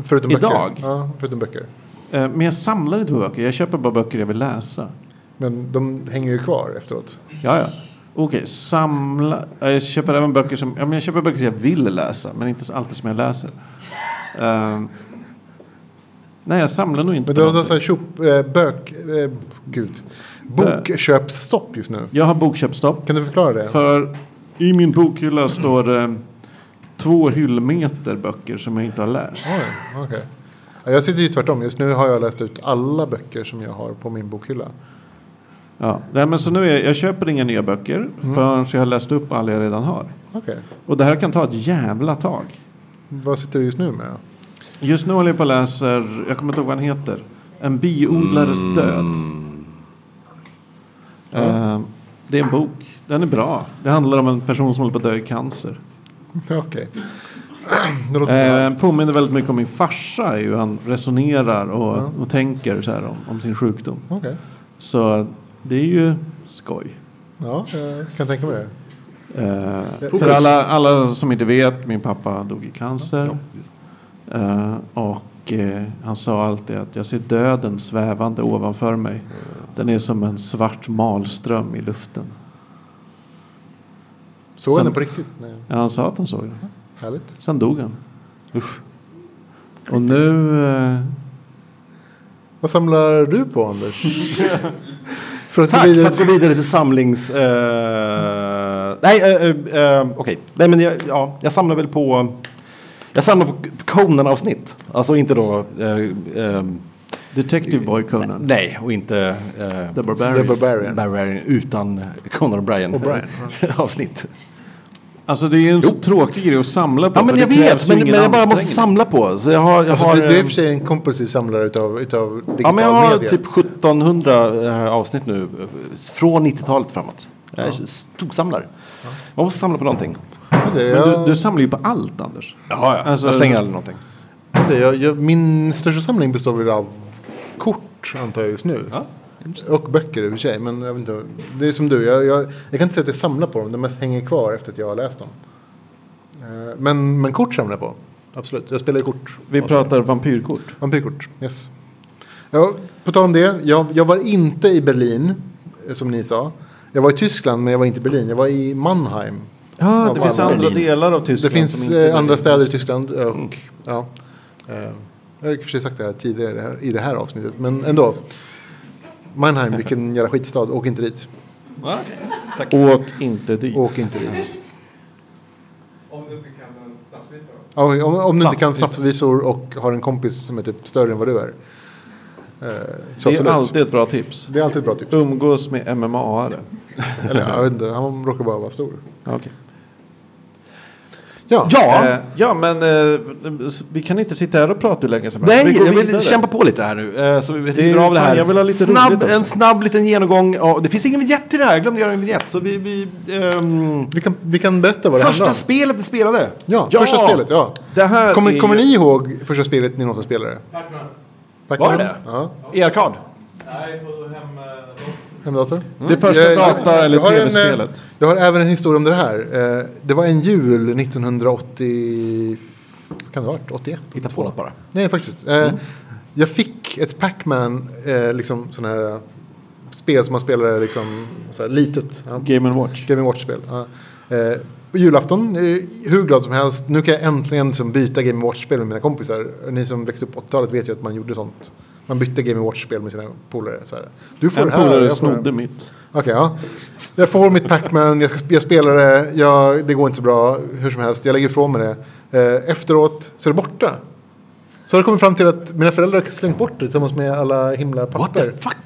Förutom
Idag?
böcker? Ja, förutom böcker.
Eh, men jag samlar inte på böcker. Jag köper bara böcker jag vill läsa.
Men de hänger ju kvar efteråt.
Ja, ja. Okej, samla. eh, Jag köper även böcker som, ja, men jag köper böcker som jag vill läsa, men inte så alltid som jag läser. Ehm, nej, jag samlar nog inte.
Men du
på
har
någonting.
så här tjop, eh, bök... Eh, gud. Bokköpsstopp just nu.
Jag har bokköpsstopp.
Kan du förklara det?
För i min bokhylla står det två hyllmeter böcker som jag inte har läst.
Oj, okej. Ja, Jag sitter ju tvärtom. Just nu har jag läst ut alla böcker som jag har på min bokhylla.
Ja. Nej, men så nu är jag, jag köper inga nya böcker
Mm.
förrän jag har läst upp alla jag redan har.
Okej.
Och det här kan ta ett jävla tag.
Vad sitter du just nu med? *laughs*
Just nu håller jag på och läser, jag kommer inte ihåg vad han heter, En biodlares död. Eh, det är en bok. Den är bra. Det handlar om en person som håller på att dö i cancer.
Okej. *clears throat* Det låter
Eh, påminner väldigt mycket om min farsa i hur han resonerar och,
Ja.
och tänker så här om, om sin sjukdom.
Okej.
Så det är ju skoj.
Ja, jag kan tänka mig det.
Eh,
Fokus.
för alla, alla som inte vet, min pappa dog i cancer. Eh, och eh, han sa alltid att jag ser döden svävande ovanför mig. Den är som en svart malström i luften.
Såg
Sen-
den på riktigt? Nej.
Ja, han sa att han såg den.
Härligt.
Sen dog han. Usch. Och nu... Eh,
Vad samlar du på Anders? för att
Tack
gå vidare
för att gå vidare till samlings... eh, nej, eh, eh, eh, okej. Nej, men jag, ja, jag samlar väl på... Jag samlar på Conan-avsnitt. Alltså inte då... eh, eh,
Detective Boy Conan.
nej, och inte... eh,
The Barbarian.
The Barbarian. Barbarian, utan Conan O'Brien.
O'Brien,
*laughs* avsnitt.
Alltså det är ju en så tråkig grej att samla på.
Ja, men
för
jag
det
vet,
krävs ju
men,
ingen
men jag bara måste
ansträngning.
samla på. Så jag har... Jag
Alltså,
har
du, du är i
eh,
och för sig en kompulsiv samlare utav, utav digital
Ja, men jag har
media.
typ 1700 eh, avsnitt nu. eh, Från 90-talet framåt. Jag är storsamlare. Man måste samla på någonting.
Ja, det,
Men
jag,
du, du samlar ju på allt Anders.
Jaha, ja.
Alltså-
jag slänger aldrig någonting.
det, jag, jag, min största samling består väl av kort antar jag just nu. Och böcker i och för sig. Men jag vet inte, det är som du. Jag, jag, jag kan inte säga att jag samlar på dem. De mest hänger kvar efter att jag har läst dem. Eh, Men, men kort samlar jag på. Absolut. Jag spelar ju kort.
Vi pratar vampyrkort.
Vampyrkort. Yes. Ja, på tal om det. Jag, jag var inte i Berlin. eh, Som ni sa. Jag var i Tyskland men jag var inte i Berlin. Jag var i Mannheim.
Ja, det
av
finns
alla.
andra delar av Tyskland
Det finns
som inte Mm.
eh, andra
Berlin.
städer i Tyskland. Och, ja, eh, jag har i och för sig sagt det här tidigare i det här- i det här avsnittet, men ändå. Mannheim, vilken jävla skitstad. Åk inte dit.
Ja, okej. Tack. Åk inte dit.
Åk inte dit.
Om du inte kan en snapslista då?
Ja, Om, om du inte
Snabbt,
kan
just
snabbvisor och har en kompis som är typ större än vad du är. Eh,
Det är alltid ett bra tips.
Det är alltid ett bra tips.
Umgås med MMA-are.
Eller jag vet inte, han råkar bara vara stor.
Okej.
Ja.
Ja. Eh, ja, men eh, vi kan inte sitta här och prata hur länge som helst.
Nej,
vi går
jag vill
vidare.
kämpa på lite här nu. eh, Så vi
Det är-
river av det
fan,
här.
jag vill ha lite roligt
snabb,
också.
en snabb liten genomgång. Ja, det finns ingen vignett till det här. Jag glömde göra en vignett. Så vi, vi, ehm,
vi, kan, vi kan berätta vad det
Första
handlar om.
spelet vi spelade.
Ja, första spelet. Ja.
Det här
kommer,
är-
kommer ni ihåg första spelet ni någonsin spelade?
Var det det?
Ja.
E-arkad?
Nej, på hem... eh,
Hemdator?
Mm. Det första data- eller
jag har en, eh,
TV-spelet.
Jag har även en historia om det här. Eh, Det var en jul 1980... Kan det ha varit? 81?
Hitta på något bara.
Nej, faktiskt.
Mm.
Eh, Jag fick ett Pac-Man, eh, liksom sån här eh, spel som man spelade liksom så här litet. Ja.
Game Watch.
Game Watch-spel. Ja. Eh, på julafton, eh, hur glad som helst. Nu kan jag äntligen liksom byta Game Watch-spel med mina kompisar. Ni som växte upp på 80-talet vet ju att man gjorde sånt. Man bytte Game Watch-spel med sina polare. Så här. Du får
En
det här.
polare
jag får det här.
snodde mitt.
Okej, ja. Jag får mitt Pac-Man, jag, ska- jag spelar det, jag, det går inte så bra, hur som helst, jag lägger ifrån mig det. Eh, efteråt så är det borta. Så har det kommit fram till att mina föräldrar har slängt bort det tillsammans med alla himla papper. What the
fuck?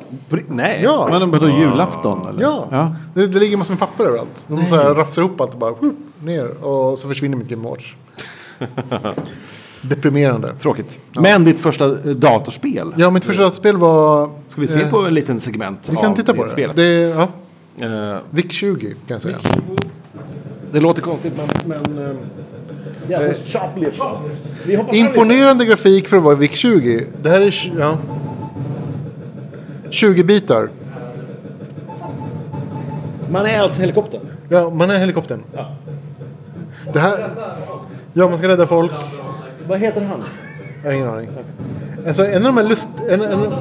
Nej?
Ja.
Men vadå, julafton, eller?
Ja.
Ja.
Det, det ligger massor med papper överallt. De så här rafsar ihop allt och bara whoop, ner och så försvinner mitt Game
*laughs*
Watch. Deprimerande.
Tråkigt. Men ditt första eh, datorspel?
Ja, mitt första spel var...
Ska vi se
eh,
på en liten segment
Vi kan
av
titta på
ditt
det.
spel?
det ja.
Eh,
Vic 20 kan jag säga.
Det låter konstigt, men... men eh, det är alltså Shoplift. Vi hoppar fram lite.
Imponerande grafik för att vara VIC 20. Det här är tj- ja. 20 bitar.
Man är alltså helikoptern?
Ja, man är helikoptern.
Ja.
Det här, ja, man ska rädda folk.
Vad heter han?
Jag har ingen aning. Alltså, en av de här lust, en, en, en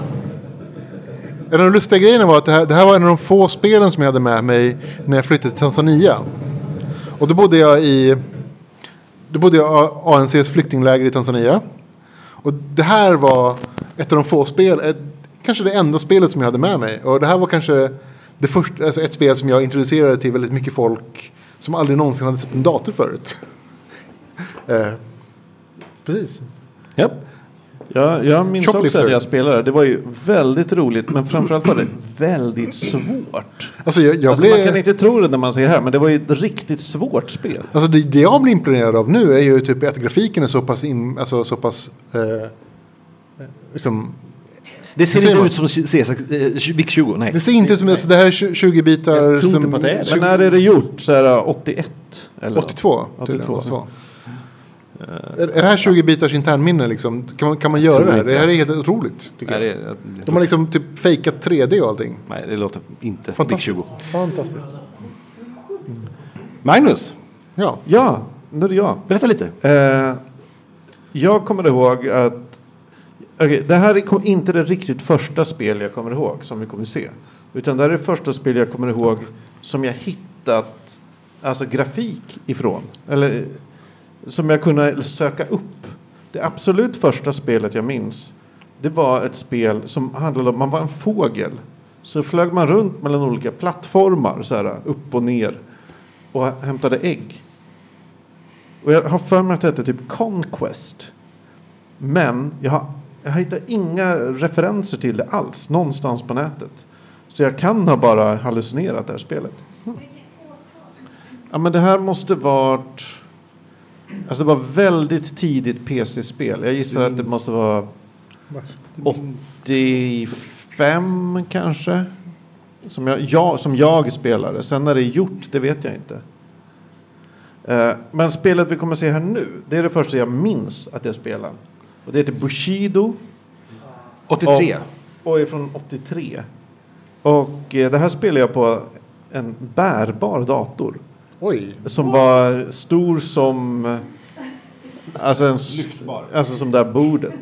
av de lustiga grejerna var att det här, det här var en av de få spelen som jag hade med mig när jag flyttade till Tanzania. Och då bodde jag i då bodde jag i ANCs flyktingläger i Tanzania. Och det här var ett av de få spel, ett, kanske det enda spelet som jag hade med mig. Och det här var kanske det första, alltså ett spel som jag introducerade till väldigt mycket folk som aldrig någonsin hade sett en dator förut. *laughs* eh, precis.
Ja.
Jag, jag minns också
Shoplifter.
att jag spelade. Det var ju väldigt roligt, men framförallt var det väldigt svårt.
Alltså, jag, jag
alltså,
blev...
Man kan inte tro det när man ser här, men det var ju ett riktigt svårt spel.
Alltså det, det jag blir imponerad av nu är ju typ att grafiken är så pass... In, alltså så pass eh, liksom,
Det ser
Hur säger
inte
man?
ut som C6, eh, Vic 20. Nej.
det ser inte ut som... Alltså det här är 20 bitar
Jag tror inte
som...
på att det är det.
tjugo-
Men när är det gjort? Så här, 81? Eller Eh,
82. tydligen,
82.
så. Är, är det här 20 bitars internminne liksom? Kan man, kan man göra
Tror
det här?
inte.
Det här är helt otroligt. Tycker
Nej,
jag.
det, det,
De har liksom typ fejkat 3D och allting.
nej, det låter inte Vic
Fantastiskt.
20.
Fantastiskt.
Magnus,
Ja.
Ja, nu är det jag.
berätta lite.
Eh, jag kommer ihåg att... okej, det här är ko- inte det riktigt första spel jag kommer ihåg som vi kommer se. Utan det här är det första spel jag kommer ihåg som jag hittat alltså grafik ifrån. Eller eh, som jag kunde söka upp. Det absolut första spelet jag minns det var ett spel som handlade om man var en fågel. Så flög man runt mellan olika plattformar så här, upp och ner och hämtade ägg. Och jag har för mig att det hette typ Conquest. Men jag har, jag har hittat inga referenser till det alls någonstans på nätet. Så jag kan ha bara hallucinerat det här spelet. Ja, men det här måste varit... Alltså det var väldigt tidigt PC-spel. Jag gissar att det måste vara 85 kanske. Som jag, jag, som jag spelade. Sen när det är gjort, det vet jag inte. Eh, Men spelet vi kommer se här nu, det är det första jag minns att jag spelade. Och det heter Bushido.
83.
Och, och är från 83. Och eh, det här spelade jag på en bärbar dator.
Oj.
Som var stor som... eh, Alltså, en, s- alltså som det här bordet.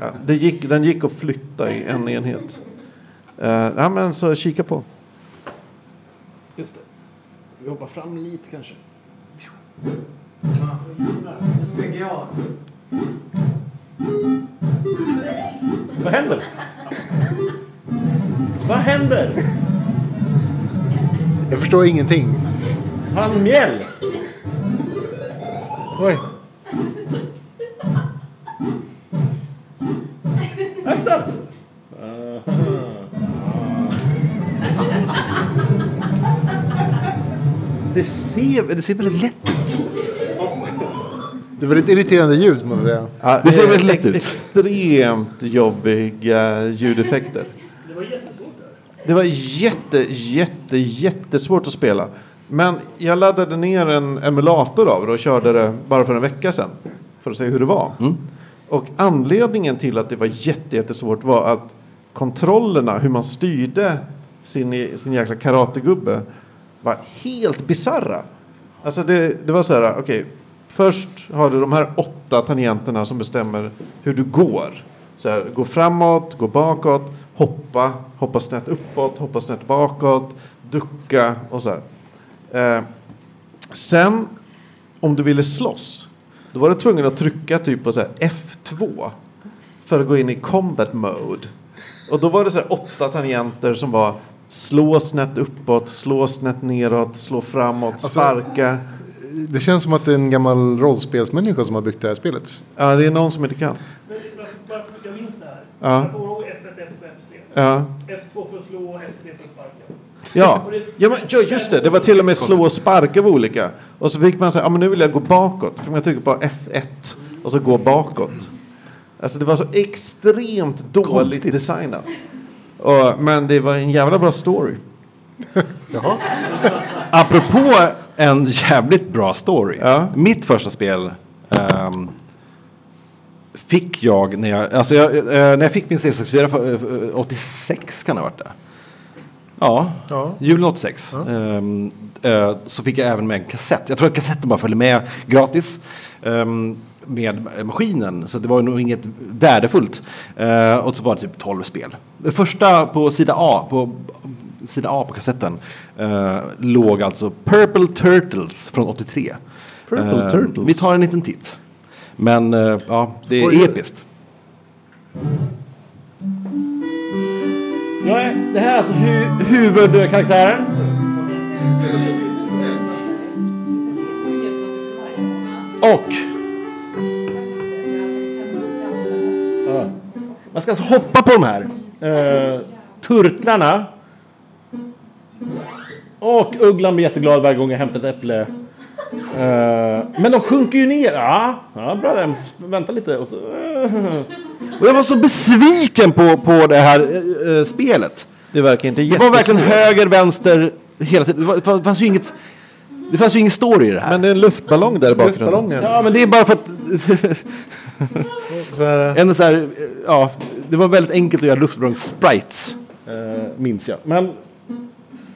Ja, det gick, den gick att flytta i en enhet. Uh, ja, men så kika på.
Just det. Vi hoppar fram lite kanske.
CGA.
Vad händer? Vad händer?
Jag förstår ingenting.
Han mjäll!
Oj.
Akta!
Det ser, det ser väldigt lätt
Det var ett irriterande ljud måste jag säga.
Ja, det ser väldigt lätt ut. Extremt jobbiga ljudeffekter.
Det var jättesvårt där.
Det var jätte, jätte, jättesvårt att spela. Men jag laddade ner en emulator av det och körde det bara för en vecka sedan. För att se hur det var. Och anledningen till att det var jätte, jättesvårt var att kontrollerna, hur man styrde sin, sin jäkla karategubbe var helt bizarra. Alltså det, det var så här, okej. först har du de här åtta tangenterna som bestämmer hur du går. Så här, gå framåt, gå bakåt, hoppa, hoppa snett uppåt, hoppa snett bakåt, ducka och så här. Eh, sen om du ville slåss, då var du tvungen att trycka typ på så här F2 för att gå in i combat mode. Och då var det så här åtta tangenter som var slå snett uppåt, slå snett neråt, slå framåt,
Alltså-
sparka.
Det känns som att det är en gammal rollspelsmänniska som har byggt det här spelet.
Ja, det är någon som inte kan.
Men varför- varför- jag minns det här.
Ja.
Jag kommer ihåg F1, F2, F3.
Ja.
F2 för att slå och F3 för att sparka.
Ja,
Och det-
ja men, ja, just det. Det var till och med slå och sparka var olika. Och så fick man säga, ja men nu vill jag gå bakåt. För man trycker på F1 och så gå bakåt. Alltså det var så extremt dåligt designat. Och, men det var en jävla bra story.
Jaha.
Apropå en jävligt bra story. Mitt första spel ehm, fick jag när jag, alltså jag, eh, när jag fick min C64 för, eh, 86 kan det ha varit det. Ja,
Ja.
julen 86. Ehm, eh, så fick jag även med en kassett. Jag tror att kassetten bara följde med gratis. ehm, med maskinen, så det var nog inget värdefullt. Eh, och så var det typ 12 spel. Det första på sida A, på sida A på kassetten, eh, låg alltså Purple Turtles från 83.
Purple
Ehm,
Turtles?
Vi tar en liten titt. Men eh, ja, det
Oj.
är episkt. Nej, det här är alltså hu- huvudkaraktären. Och... Ja. Man ska alltså hoppa på de här eh, turtlarna. Och ugglan blir jätteglad varje gång jag hämtar ett äpple. Eh, men de sjunker ju ner. Ja, ja bra den. Vänta lite. Och så, och jag var så besviken på, på det här eh, eh, spelet.
Det verkar inte
Det var verkligen
jättesvårt.
höger, vänster hela tiden. Det var- Det fanns- fanns ju inget... Det fanns ju ingen story i det här. Men
det är en luftballong där i bakgrunden.
Luftballongen.
Ja, men det är bara för att...
så här,
en så här, eh, ja, det var väldigt enkelt att göra luftballongs-sprites. eh, minns jag. Men...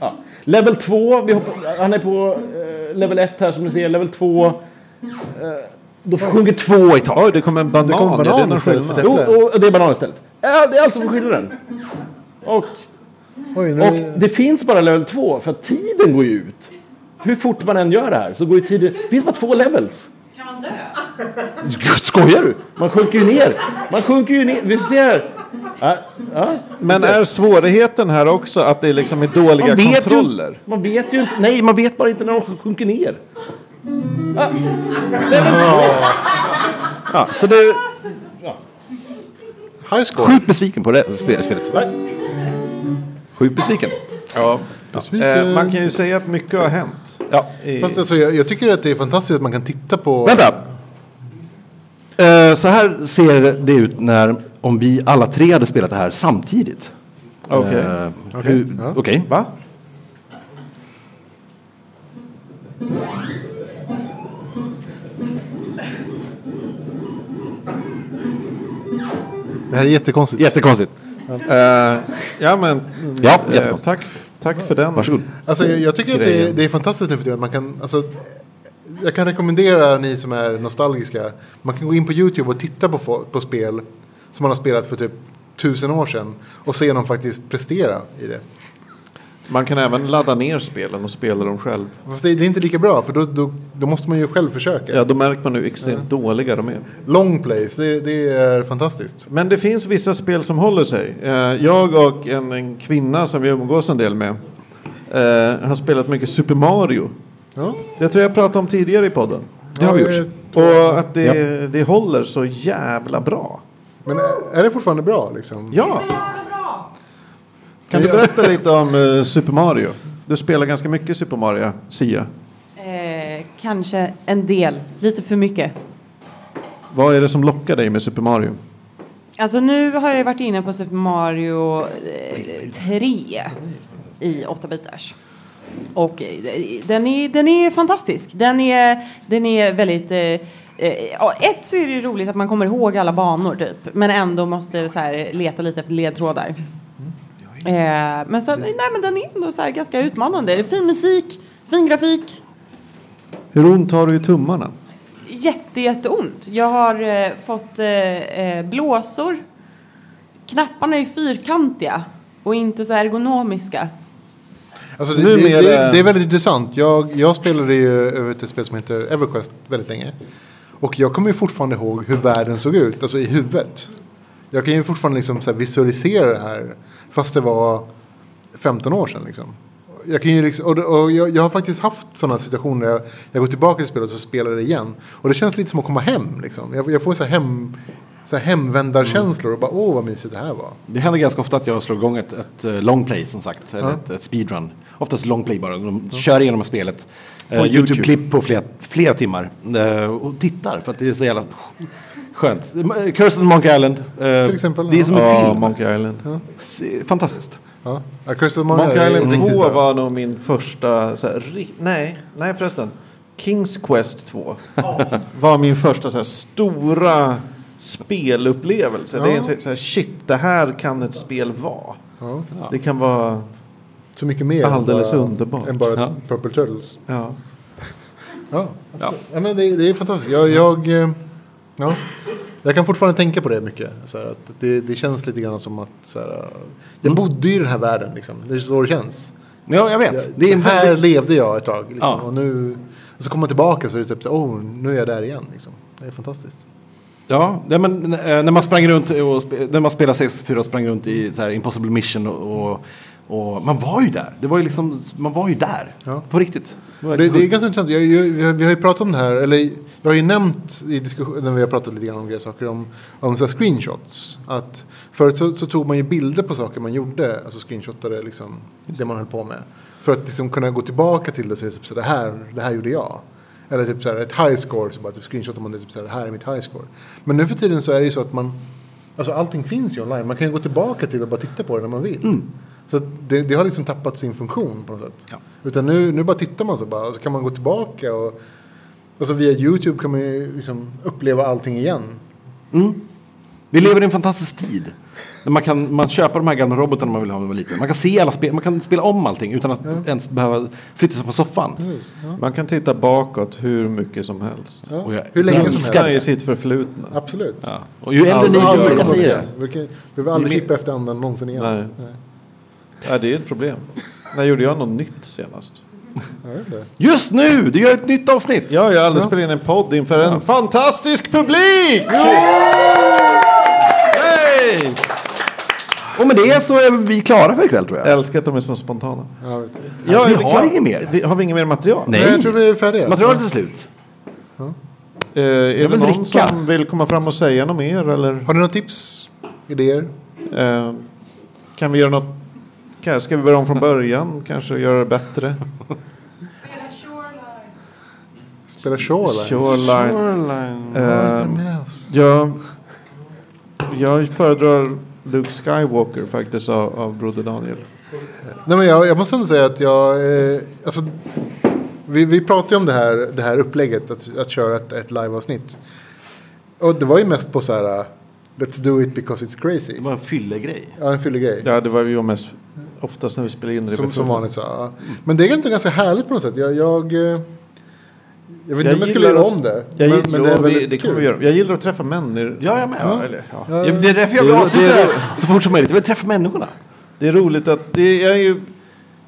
Ja. Level 2, vi hoppar, han är på eh, level 1 här som ni ser. Level 2. eh, då sjunger två i taget.
Oj, det kom en banan.
Det kom
Är det
banan
någon
istället
skillnad?
för äpple? Jo, och det är banan istället. Ja, det är alltså skillnaden. Och, och det finns bara level 2 för att tiden går ju ut. Hur fort man än gör det här så går ju tiden... Det finns bara två levels.
Kan man dö?
Gud, Skojar du? Man sjunker ju ner. Man sjunker ju ner. Vi ser här. Ja, ja, vi
Men
ser.
är svårigheten här också att det liksom är dåliga
Man vet
kontroller?
Ju, man vet ju inte. Nej, man vet bara inte när de sjunker ner. Ja, level 2. Ja, så det... Ja. Sjukt besviken på det spe- spelet. Sjukt besviken.
Ja.
Besviken.
Eh, man kan ju säga att mycket har hänt.
Ja.
Fast alltså, jag, jag tycker att det är fantastiskt att man kan titta på...
Vänta! Eh, så här ser det ut när, om vi alla tre hade spelat det här samtidigt.
Okej.
Eh,
Okej,
hur-
ja.
Okej.
Va?
Det här är jättekonstigt.
Jättekonstigt.
Eh, ja, men...
Ja,
eh,
jättekonstigt.
tack, tack för den.
Varsågod.
Alltså, jag, jag tycker att det,
grejen.
är- det är fantastiskt nu för tiden. att Man kan, alltså, jag kan rekommendera ni som är nostalgiska. Man kan gå in på YouTube och titta på, fo- på spel som man har spelat för typ tusen år sedan. Och se dem faktiskt prestera i det.
Man kan även ladda ner spelen och spela dem själv.
Fast det, det är inte lika bra för då, då, då måste man ju själv försöka.
Ja, då märker man hur extremt dåliga de är.
Long plays, det, det är fantastiskt.
Men det finns vissa spel som håller sig. Eh, Jag och en, en kvinna som vi umgås en del med eh, har spelat mycket Super Mario.
Ja.
Det tror jag pratade om tidigare i podden.
Det har vi gjort.
Och att det, det håller så jävla bra.
Men är- är det fortfarande bra liksom?
Ja! Kan du berätta lite om eh, Super Mario? Du spelar ganska mycket Super Mario, Sia.
Eh, kanske en del, lite för mycket.
Vad är det som lockar dig med Super Mario?
Alltså nu har jag varit inne på Super Mario eh, 3 i 8-bitars. Och eh, den är, den är fantastisk. Den är, den är väldigt... Eh, eh, ja, ett så är det ju roligt att man kommer ihåg alla banor typ. Men ändå måste så här, leta lite efter ledtrådar. Eh, men, sen, nej, men den är ändå så här ganska utmanande. Det är fin musik, fin grafik.
Hur ont har du i tummarna?
jätte, jätteont. Jag har eh, fått eh, eh, blåsor. Knapparna är fyrkantiga och inte så ergonomiska.
Alltså, det,
Numera-
det, det, det är väldigt intressant. Jag, jag spelade ju över ett spel som heter EverQuest väldigt länge. Och jag kommer ju fortfarande ihåg hur världen såg ut, alltså i huvudet. Jag kan ju fortfarande liksom så här visualisera det här, fast det var 15 år sedan. Liksom. Jag, kan ju liksom, och, och jag, jag har faktiskt haft sådana situationer där jag, jag går tillbaka till spelet och så spelar det igen. Och det känns lite som att komma hem. Liksom. Jag, jag får så här hem, så här hemvändarkänslor och bara åh vad mysigt det här var.
Det händer ganska ofta att jag slår igång ett, ett eh, long play som sagt, eller
Ja.
ett, ett speedrun. Oftast long play bara, de kör igenom spelet. Eh,
På YouTube.
Youtube-klipp på flera, flera timmar eh, och tittar för att det är så jävla skönt. Eh, Curse of Monkey Island. eh,
Till exempel,
Det är
ja.
som en
Ja,
film.
Monkey Island.
Se- Fantastiskt.
Ja. Ja, Curse of Monkey
Monkey
Island är
Island
riktigt
2
bra.
var nog min första... Så här, ri- nej, nej förresten. Kings Quest *laughs* 2 var min första så här, stora spelupplevelse. Det är en så så här, shit, det här kan ett spel vara.
Ja.
Det kan vara
Så mycket mer
alldeles
än bara,
underbart.
Än bara
Ja.
Purple Turtles.
Ja.
Ja, ja men det, det är fantastiskt. Jag, jag, eh, ja. jag kan fortfarande tänka på det mycket. Så här, att det, det känns lite grann som att så här, eh,
Mm.
jag bodde i den här världen. Liksom. Det är så det känns.
Ja, jag vet.
det
Det är en
här
väldigt-
levde jag ett tag. Liksom.
Ja.
Och nu och så kommer man tillbaka så är det typ så här, oh, nu är jag där igen. Liksom. Det är fantastiskt.
Ja, nej, men, eh, när man sprang runt och spe- när man spelade 64 och sprang runt i så här, Impossible Mission och, och, och man var ju där. Det var ju liksom, man var ju där. På riktigt. liksom-
Det, det är ganska intressant. Jag, jag, jag, vi har ju pratat om det här, eller jag har ju nämnt i diskussionen, när vi har pratat lite grann om grejer, saker om, om så här screenshots. Att förut så, så tog man ju bilder på saker man gjorde, alltså screenshotade liksom, det man höll på med. För att liksom kunna gå tillbaka till det och säga typ så här, det här, det här gjorde jag. Eller typ så här, ett high score, så bara typ screenshotar man det, typ så här, det här är mitt high score. Men nu för tiden så är det ju så att man, alltså allting finns ju online, man kan ju gå tillbaka till och bara titta på det när man vill. Så att det, det har liksom tappat sin funktion på något sätt. Utan nu, nu bara tittar man så bara, och så kan man gå tillbaka och alltså via YouTube kan man ju liksom uppleva allting igen.
Mm. Vi lever i en fantastisk tid. Där man kan man köpa de här gamla robotarna man vill ha när man var liten. Man kan se alla spel, man kan spela om allting utan att ens behöva flytta sig från soffan.
Mm.
Man kan titta bakåt hur mycket som helst.
Ja. Hur länge som helst.
Älskar i sitt förflutna.
Absolut.
Ja.
Och ju äldre ni
Aldrig
blir,
gör
jag säger det.
Vi kan- vi behöver aldrig
Det är
klippa efter andan någonsin igen.
Nej. Ja, det är ett problem. När gjorde jag något nytt senast?
Jag vet inte.
Just nu! Du gör ett nytt avsnitt!
Ja, jag har aldrig spelat in en podd inför en fantastisk publik! Hej!
Och med det så är vi klara för ikväll tror jag.
Älskar att de är så spontana.
Ja, vet du.
Ja, vi har inget mer.
Vi, har vi inget mer material?
Nej. Nej, jag tror
vi är färdiga.
Materialet är slut.
Eh, är
Jag
det
vill
någon
dricka.
som vill komma fram och säga något mer? Eller? Har
ni några tips? Idéer?
Eh, kan vi göra något? Kan- Ska vi börja om från början? Kanske göra det bättre?
Spela Shoreline.
Shoreline.
Shoreline.
Ehm, ja, jag föredrar Luke Skywalker faktiskt av, av Broder Daniel.
Nej, men jag, jag måste ändå säga att jag... Eh, alltså, vi, vi pratade ju om det här, det här upplägget, att, att köra ett, ett liveavsnitt. Och det var ju mest på så här... eh, Let's do it because it's crazy. Det
var en fyllegrej.
Ja, en fyllegrej.
Ja, det var vi mest oftast när vi spelade in det. Mm.
Som, som
befogat.
vanligt så. ja. Men det är ändå ganska härligt på något sätt. Jag, jag, eh, jag vet inte om jag skulle
gillar
göra
att-
om det.
Jag,
men,
gillar,
men det är
vi-
väldigt
det kommer
kul.
vi göra. jag gillar att träffa människor.
Ja, jag med.
Ja, eller, ja.
Ja.
Ja, det är därför jag vill
Eh, Det är-
avsluta
det är-
det här så fort som möjligt. Jag vill träffa människorna.
Det är roligt att det är ju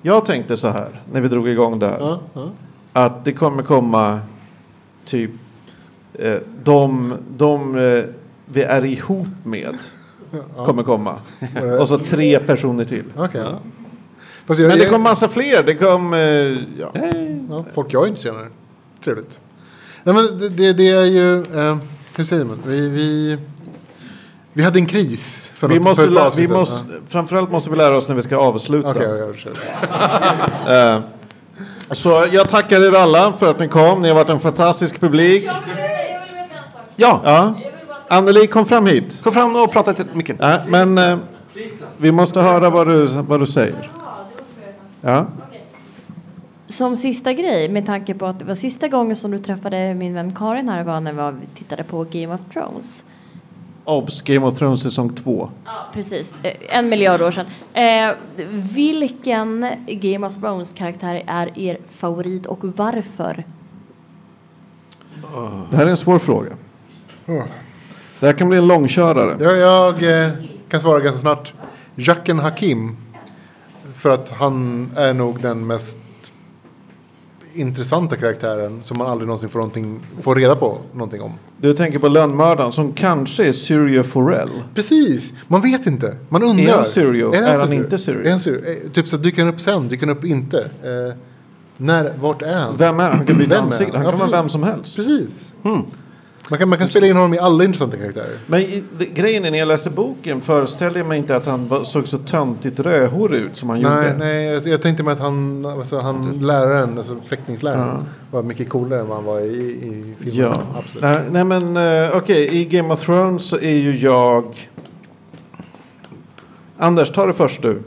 Jag tänkte så här när vi drog igång det här.
Ja, ja.
Att det kommer komma typ eh, de, de eh, vi är ihop med
Ja.
kommer komma. Och så tre personer till.
Okej, ja. Fast jag-
Men det
jag-
kom massa fler. Det kom... Eh, ja.
Ja, folk jag inte känner. Trevligt. Nej, men det, det, det är ju... Eh, hur säger man? Vi, vi, vi hade en kris. För
vi
något,
måste,
för ett par
lä-
avsnitt
vi
sedan.
måste, framförallt måste vi lära oss när vi ska avsluta.
Okej, jag kör.
Eh, så jag tackar er alla för att ni kom. Ni har varit en fantastisk publik. Ja. ja. Anneli, kom fram hit. Kom fram och prata till micken. Ja, men eh, vi måste höra vad du, vad du säger. Ja.
Som sista grej, med tanke på att det var sista gången som du träffade min vän Karin här var när vi var- tittade på Game of Thrones.
Obs! Game of Thrones säsong två.
Ja, precis. Eh, En miljard år sedan. Eh, vilken Game of Thrones-karaktär är er favorit och varför?
Det här är en svår fråga.
Åh.
Det här kan bli en långkörare.
Jag, jag eh, kan svara ganska snart. Jacken Hakim. För att han är nog den mest intressanta karaktären som man aldrig någonsin får, någonting, får reda på någonting om.
Du tänker på lönnmördaren som kanske är Syrio Forell.
Precis, man vet inte. Man undrar.
Är han Syrio? Är, han
för
inte Syrio?
Är han Syrio? Eh, Typ så att dyker han upp sen, dyker han upp inte. Eh, när, vart är han?
Vem Hmm. är han? Han kan byta
Vem är
ansikte. Han kan vara
precis.
vem som helst.
Precis. Man kan, man kan spela in honom i alla intressanta karaktärer.
Men i- det- grejen är, när jag läste boken föreställde jag mig inte att han var- såg så töntigt rödhårig ut som han
Nej,
gjorde.
nej jag, jag tänkte mig att han, alltså, han läraren, alltså fäktningsläraren,
Ja.
var mycket coolare än vad han var i, i filmen.
Ja.
Absolut.
Nej, nej men eh, okej, i Game of Thrones så är ju jag... Anders, ta det först du.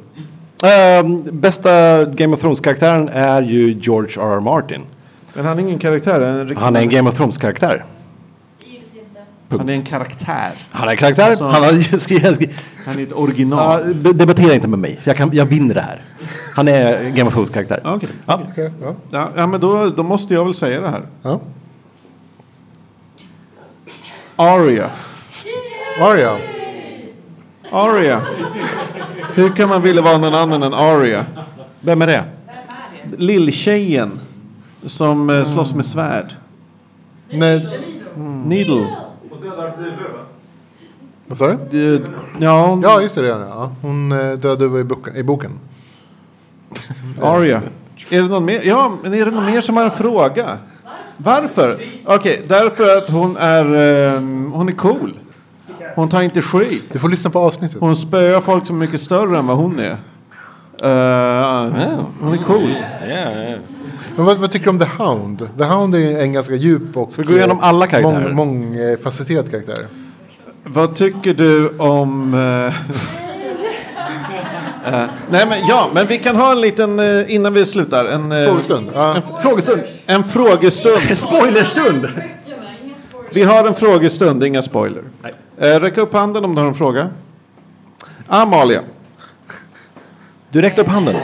Ehm, bästa Game of Thrones-karaktären är ju George R.R. Martin.
Men han är ingen karaktär. Han är en, riktig-
Han är en Game of Thrones-karaktär.
han är en karaktär.
Han är en karaktär.
Alltså-
han, *laughs* har skrivit, skrivit.
han är ett original.
Ja, de- debattera inte med mig. Jag, kan, jag vinner det här. Han är Game of Thrones-karaktär.
Okej.
Ja.
ja.
Ja, men då, då måste jag väl säga det här.
Ja.
Aria.
Aria.
Aria. Hur kan man vilja vara någon annan än Aria? Vem är det? Lilltjejen som eh, slåss med svärd.
Nej.
Needle.
Och dödar duvor va?
Vad sa du?
Ja,
ja just det. det är hon, ja. Hon eh, dödade över i boken. I boken.
Aria. Är det någon mer? Ja, men är det någon mer som har en fråga? Varför? Okej, därför att hon är, eh, hon är cool. Hon tar inte skit.
Du får lyssna på avsnittet.
Hon spöar folk som är mycket större än vad hon är. Eh, hon är cool.
Men vad, vad tycker du om The Hound? The Hound är ju en ganska djup och
vi gå igenom alla karaktärer?
Mång, mång, eh, facetterad karaktär.
Vad tycker du om... *laughs* eh, eh, nej men ja, men vi kan ha en liten, eh, innan vi slutar, en... eh,
Frågestund,
En frågestund. En frågestund. Spoilerstund. Vi har en frågestund, inga spoiler. Eh, räck upp handen om du har en fråga. Amalia. Du räckte upp handen.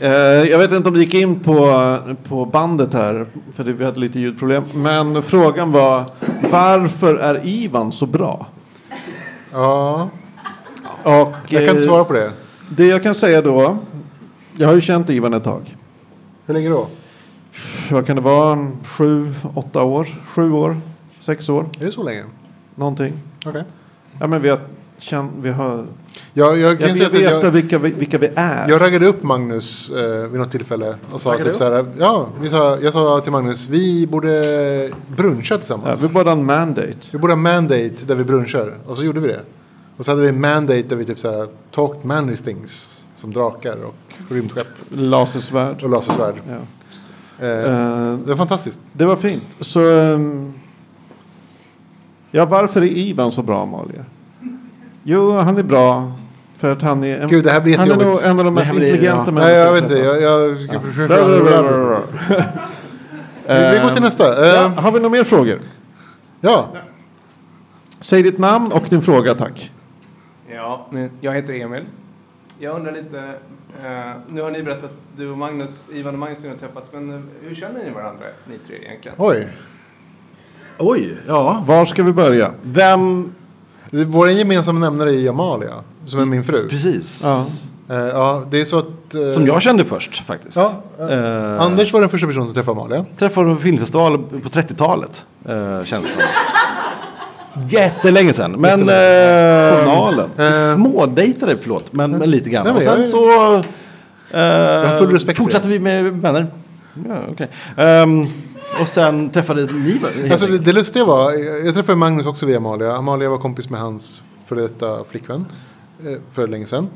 Eh, jag vet inte om det gick in på, på bandet här, för det, vi hade lite ljudproblem. Men frågan var, varför är Ivan så bra?
Ja.
Och,
Jag kan inte
eh,
svara på det.
Det jag kan säga då, jag har ju känt Ivan ett tag.
Hur länge då?
Vad kan det vara, sju, åtta år? Sju år? Sex år?
Är det så länge?
Någonting.
Okej.
Ja, men vi har, känt, vi har
Jag, jag,
Jag
kan
vill
säga så att
veta
jag,
vilka, vi, vilka vi är.
jag raggade upp Magnus eh, vid något tillfälle och sa
Raggade
typ så här. Ja, vi sa, jag sa till Magnus vi borde bruncha tillsammans.
Ja, vi borde ha en mandate.
Vi borde ha mandate där vi brunchar och så gjorde vi det. Och så hade vi en mandate där vi typ så här talked manly things som drakar och rymdskepp.
Lasersvärd.
Och lasersvärd. Eh,
Eh,
det var fantastiskt.
Det var fint. Så, ehm, ja, varför är Ivan så bra, Amalia? Jo, han är bra för att han är en,
Gud, det här blir
han är nog
jättejobbigt.
en av de
Det
mest
här blir-
intelligenta
ja.
människor
Nej, jag
har
vet inte.
träffat.
Jag- jag ska försöka-
Eh,
Vi- vi går till nästa.
Ja,
Eh.
har vi några mer frågor?
Ja.
Säg ditt namn och din fråga, tack.
Ja, jag heter Emil. Jag undrar lite, eh, nu har ni berättat att du och Magnus, Ivan och Magnus har träffats, men eh, hur känner ni varandra, ni tre egentligen?
Oj.
Oj, ja. Var ska vi börja?
Vem? Vår gemensamma nämnare är Amalia. Som är min fru?
Precis.
Ja, Eh, ja det är så att... eh,
Som jag kände först faktiskt.
Ja, eh,
Eh,
Anders var den första personen som träffade Amalia.
Träffade hon på filmfestival på 30-talet. Eh, känns det som. Jättelänge sedan. Men... Eh,
Journalen.
vi Smådejtade, förlåt. Men, men lite grann.
Nej, men
och sen
jag-
så... Eh,
har full respekt för
fortsatte vi med vänner. Ja, okej. Ehm, och sen träffades ni helt
Alltså, det,
enkelt.
det lustiga var, jag jag träffade Magnus också via Amalia. Amalia var kompis med hans före detta flickvän eh, för länge sedan.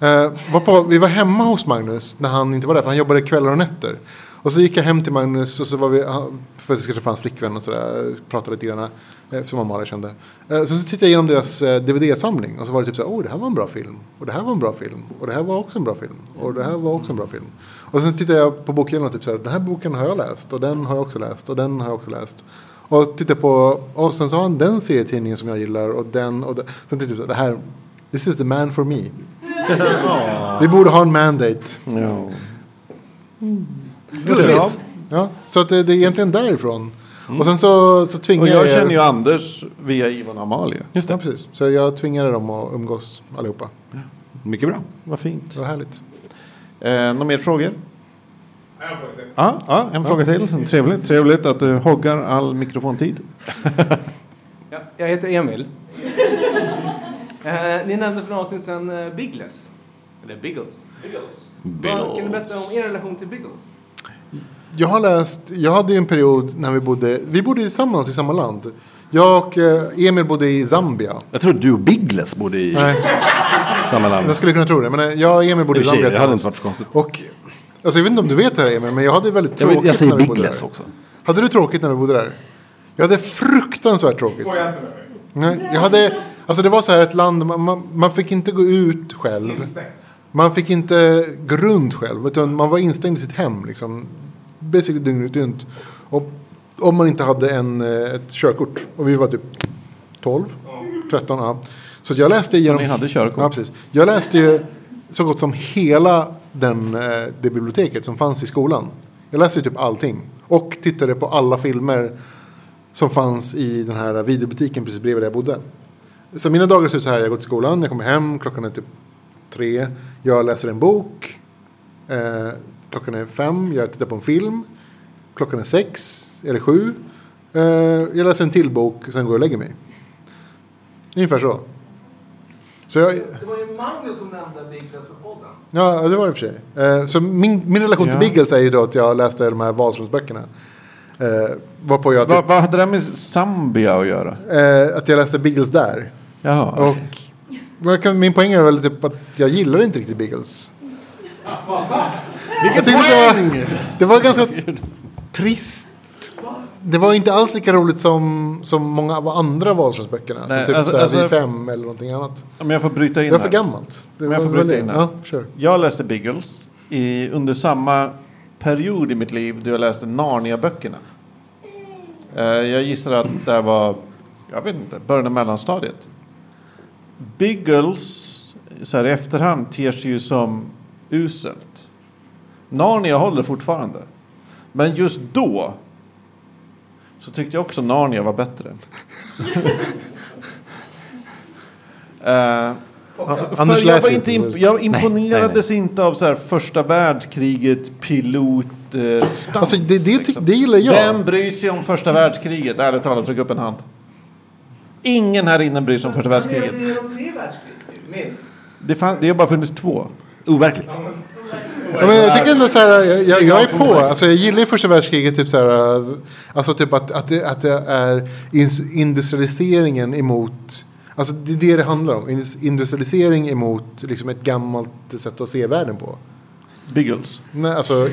Eh, var på, vi var hemma hos Magnus när han inte var där, för han jobbade kvällar och nätter. Och så gick jag hem till Magnus och så var vi, han- för att jag skulle träffa hans flickvän och sådär, pratade lite grann, eh, som Amalia kände. Eh, så, så tittade jag igenom deras eh, DVD-samling och så var det typ så här, oh det här var en bra film, och det här var en bra film, och det här var också en bra film, och det här var också en bra film. Och sen tittade jag på bokhyllan och typ så här, den här boken har jag läst, och den har jag också läst, och den har jag också läst. Och tittade på, och sen så har han den serietidningen som jag gillar, och den, och den. Sen tittade jag så här, det här, this is the man for
*laughs*
me. Vi borde ha en mandate.
Mm.
Ja.
Ja. Ja, så att det, det är egentligen därifrån. Och sen så, så
Mm. Och
tvingade
jag känner ju Anders via Ivan och Amalia.
Just det. Ja, precis. Så jag tvingade dem att umgås allihopa.
Mycket bra.
Vad fint.
Det var härligt.
Eh, några mer frågor? Ja, ja, en fråga till. Trevligt, trevligt att du hoggar all mikrofontid.
Ja, jag heter Emil. *laughs* Eh, ni nämnde för några avsnitt sedan eh, Biggles. Eller Biggles. Biggles. Vad, kan du berätta om er relation till Biggles?
Jag har läst, jag hade ju en period när vi bodde, vi bodde tillsammans i samma land. Jag och eh, Emil bodde i Zambia.
Jag tror du och Biggles bodde i
Nej.
samma land.
Jag skulle kunna tro det, men eh, jag och Emil bodde i
I och för sig,
Zambia
Det hade inte
tillsammans.
varit så konstigt.
Och, alltså, jag vet inte om du vet det här Emil, men jag hade väldigt
Jag vet- jag
tråkigt
säger
när vi bodde
Biggles
där.
också.
Hade du tråkigt när vi bodde där? Jag hade fruktansvärt tråkigt.
Skoja inte med mig.
Nej, jag hade, alltså det var så här ett land, man, man, man fick inte gå ut själv.
Instängt.
Man fick inte gå runt själv, utan man var instängd i sitt hem. Liksom, basically dygnet runt. Och om man inte hade en, eh, ett körkort, och vi var typ 12, 13, ja. Så att jag läste igenom...
ni hade körkort?
Ja, precis. Jag läste ju så gott som hela den, eh, det biblioteket som fanns i skolan. Jag läste ju typ allting. Och tittade på alla filmer som fanns i den här videobutiken precis bredvid där jag bodde. Så mina dagar ser ut så här. Jag går till skolan, jag kommer hem, klockan är typ tre. Jag läser en bok. Eh, klockan är fem, jag tittar på en film. Klockan är sex eller sju. Eh, jag läser en till bok, sen går jag och lägger mig. Ungefär så. Så jag,
Det var ju Magnus som nämnde Biggles på podden.
ja, det var det för sig. Eh, så min, min relation till
Ja.
Biggles är ju då att jag läste de här Wahlströmsböckerna. Eh, varpå jag...
Vad, vad hade det här med Zambia att göra?
Eh, att jag läste Biggles där.
Jaha.
Och men jag kan- min poäng är väl typ att jag gillar inte riktigt Biggles.
Vilken
tyckte Det
poäng!
var, det var ganska trist. Det var inte alls lika roligt som, som många av andra Wahlströmsböckerna. Som
Nej,
typ
alltså-
såhär
alltså-
Vi fem eller någonting annat.
Om jag får bryta in
Det var för
här.
gammalt. Det
Om jag
var
får bryta
väl-
in här.
ja, sure.
Jag läste Biggles i, under samma period i mitt liv då jag läste Narnia-böckerna. Eh, jag gissar att det här var, jag vet inte, början av mellanstadiet. Biggles, så här i efterhand, ter sig ju som uselt. Narnia håller fortfarande. Men just då så tyckte jag också Narnia var bättre. Eh,
Anders
för jag, var
läser
inte
inte.
imp- jag imponerades inte av så här första världskriget, pilot, eh, stunts,
Alltså, det- det tyck- det gillar jag.
Liksom. Vem bryr sig om första världskriget? Ärligt talat, tryck upp en hand. Ingen här inne bryr sig om första världskriget.
Det är de tre världskrigen, minst.
Det, fan, det har bara funnits två.
Overkligt.
Ja, men jag tycker ändå så här, jag, jag, jag är på. Alltså, jag gillar ju första världskriget, typ så här, alltså typ att, att, det, att det är in- industrialiseringen emot, alltså det är det det handlar om, Indus- industrialisering emot liksom ett gammalt sätt att se världen på.
Biggles.
Nej, alltså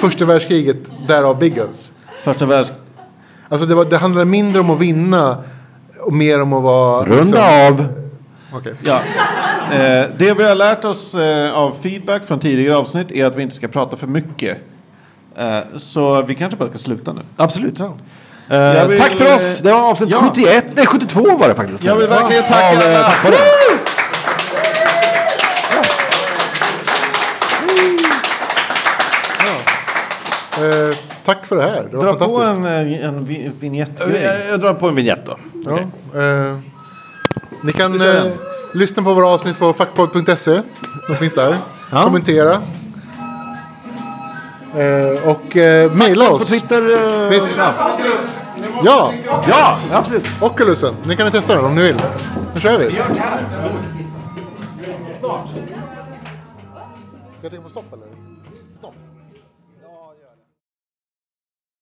första världskriget, därav Biggles.
Första världsk...
Alltså det, var, det handlar mindre om att vinna och mer om att vara... liksom-
Runda av.
Okej.
Ja. Eh, det vi har lärt oss eh, av feedback från tidigare avsnitt är att vi inte ska prata för mycket. Eh, så vi kanske bara ska sluta nu.
Absolut.
Jag
Eh,
vill-
Tack för oss! Det var avsnitt 71, nej 72 var det faktiskt.
Jag vill verkligen tacka
Av, eh,
alla.
Tack för det.
Eh, tack för det här, det var
Dra på
fantastiskt.
en, eh, en vi- vignettgrej.
Jag, jag drar på en vignett då.
Ja, eh, ni kan...
Vi kör
Eh,
den.
Lyssna på våra avsnitt på fackpodd.se. De finns där. Kommentera. Eh, och eh, mejla oss. På
Twitter.
eh-
Ja. ja, absolut. Oculusen. Ni kan testa den om ni vill. Nu kör vi.
Snart.
Ska jag trycka på stopp eller? Stopp.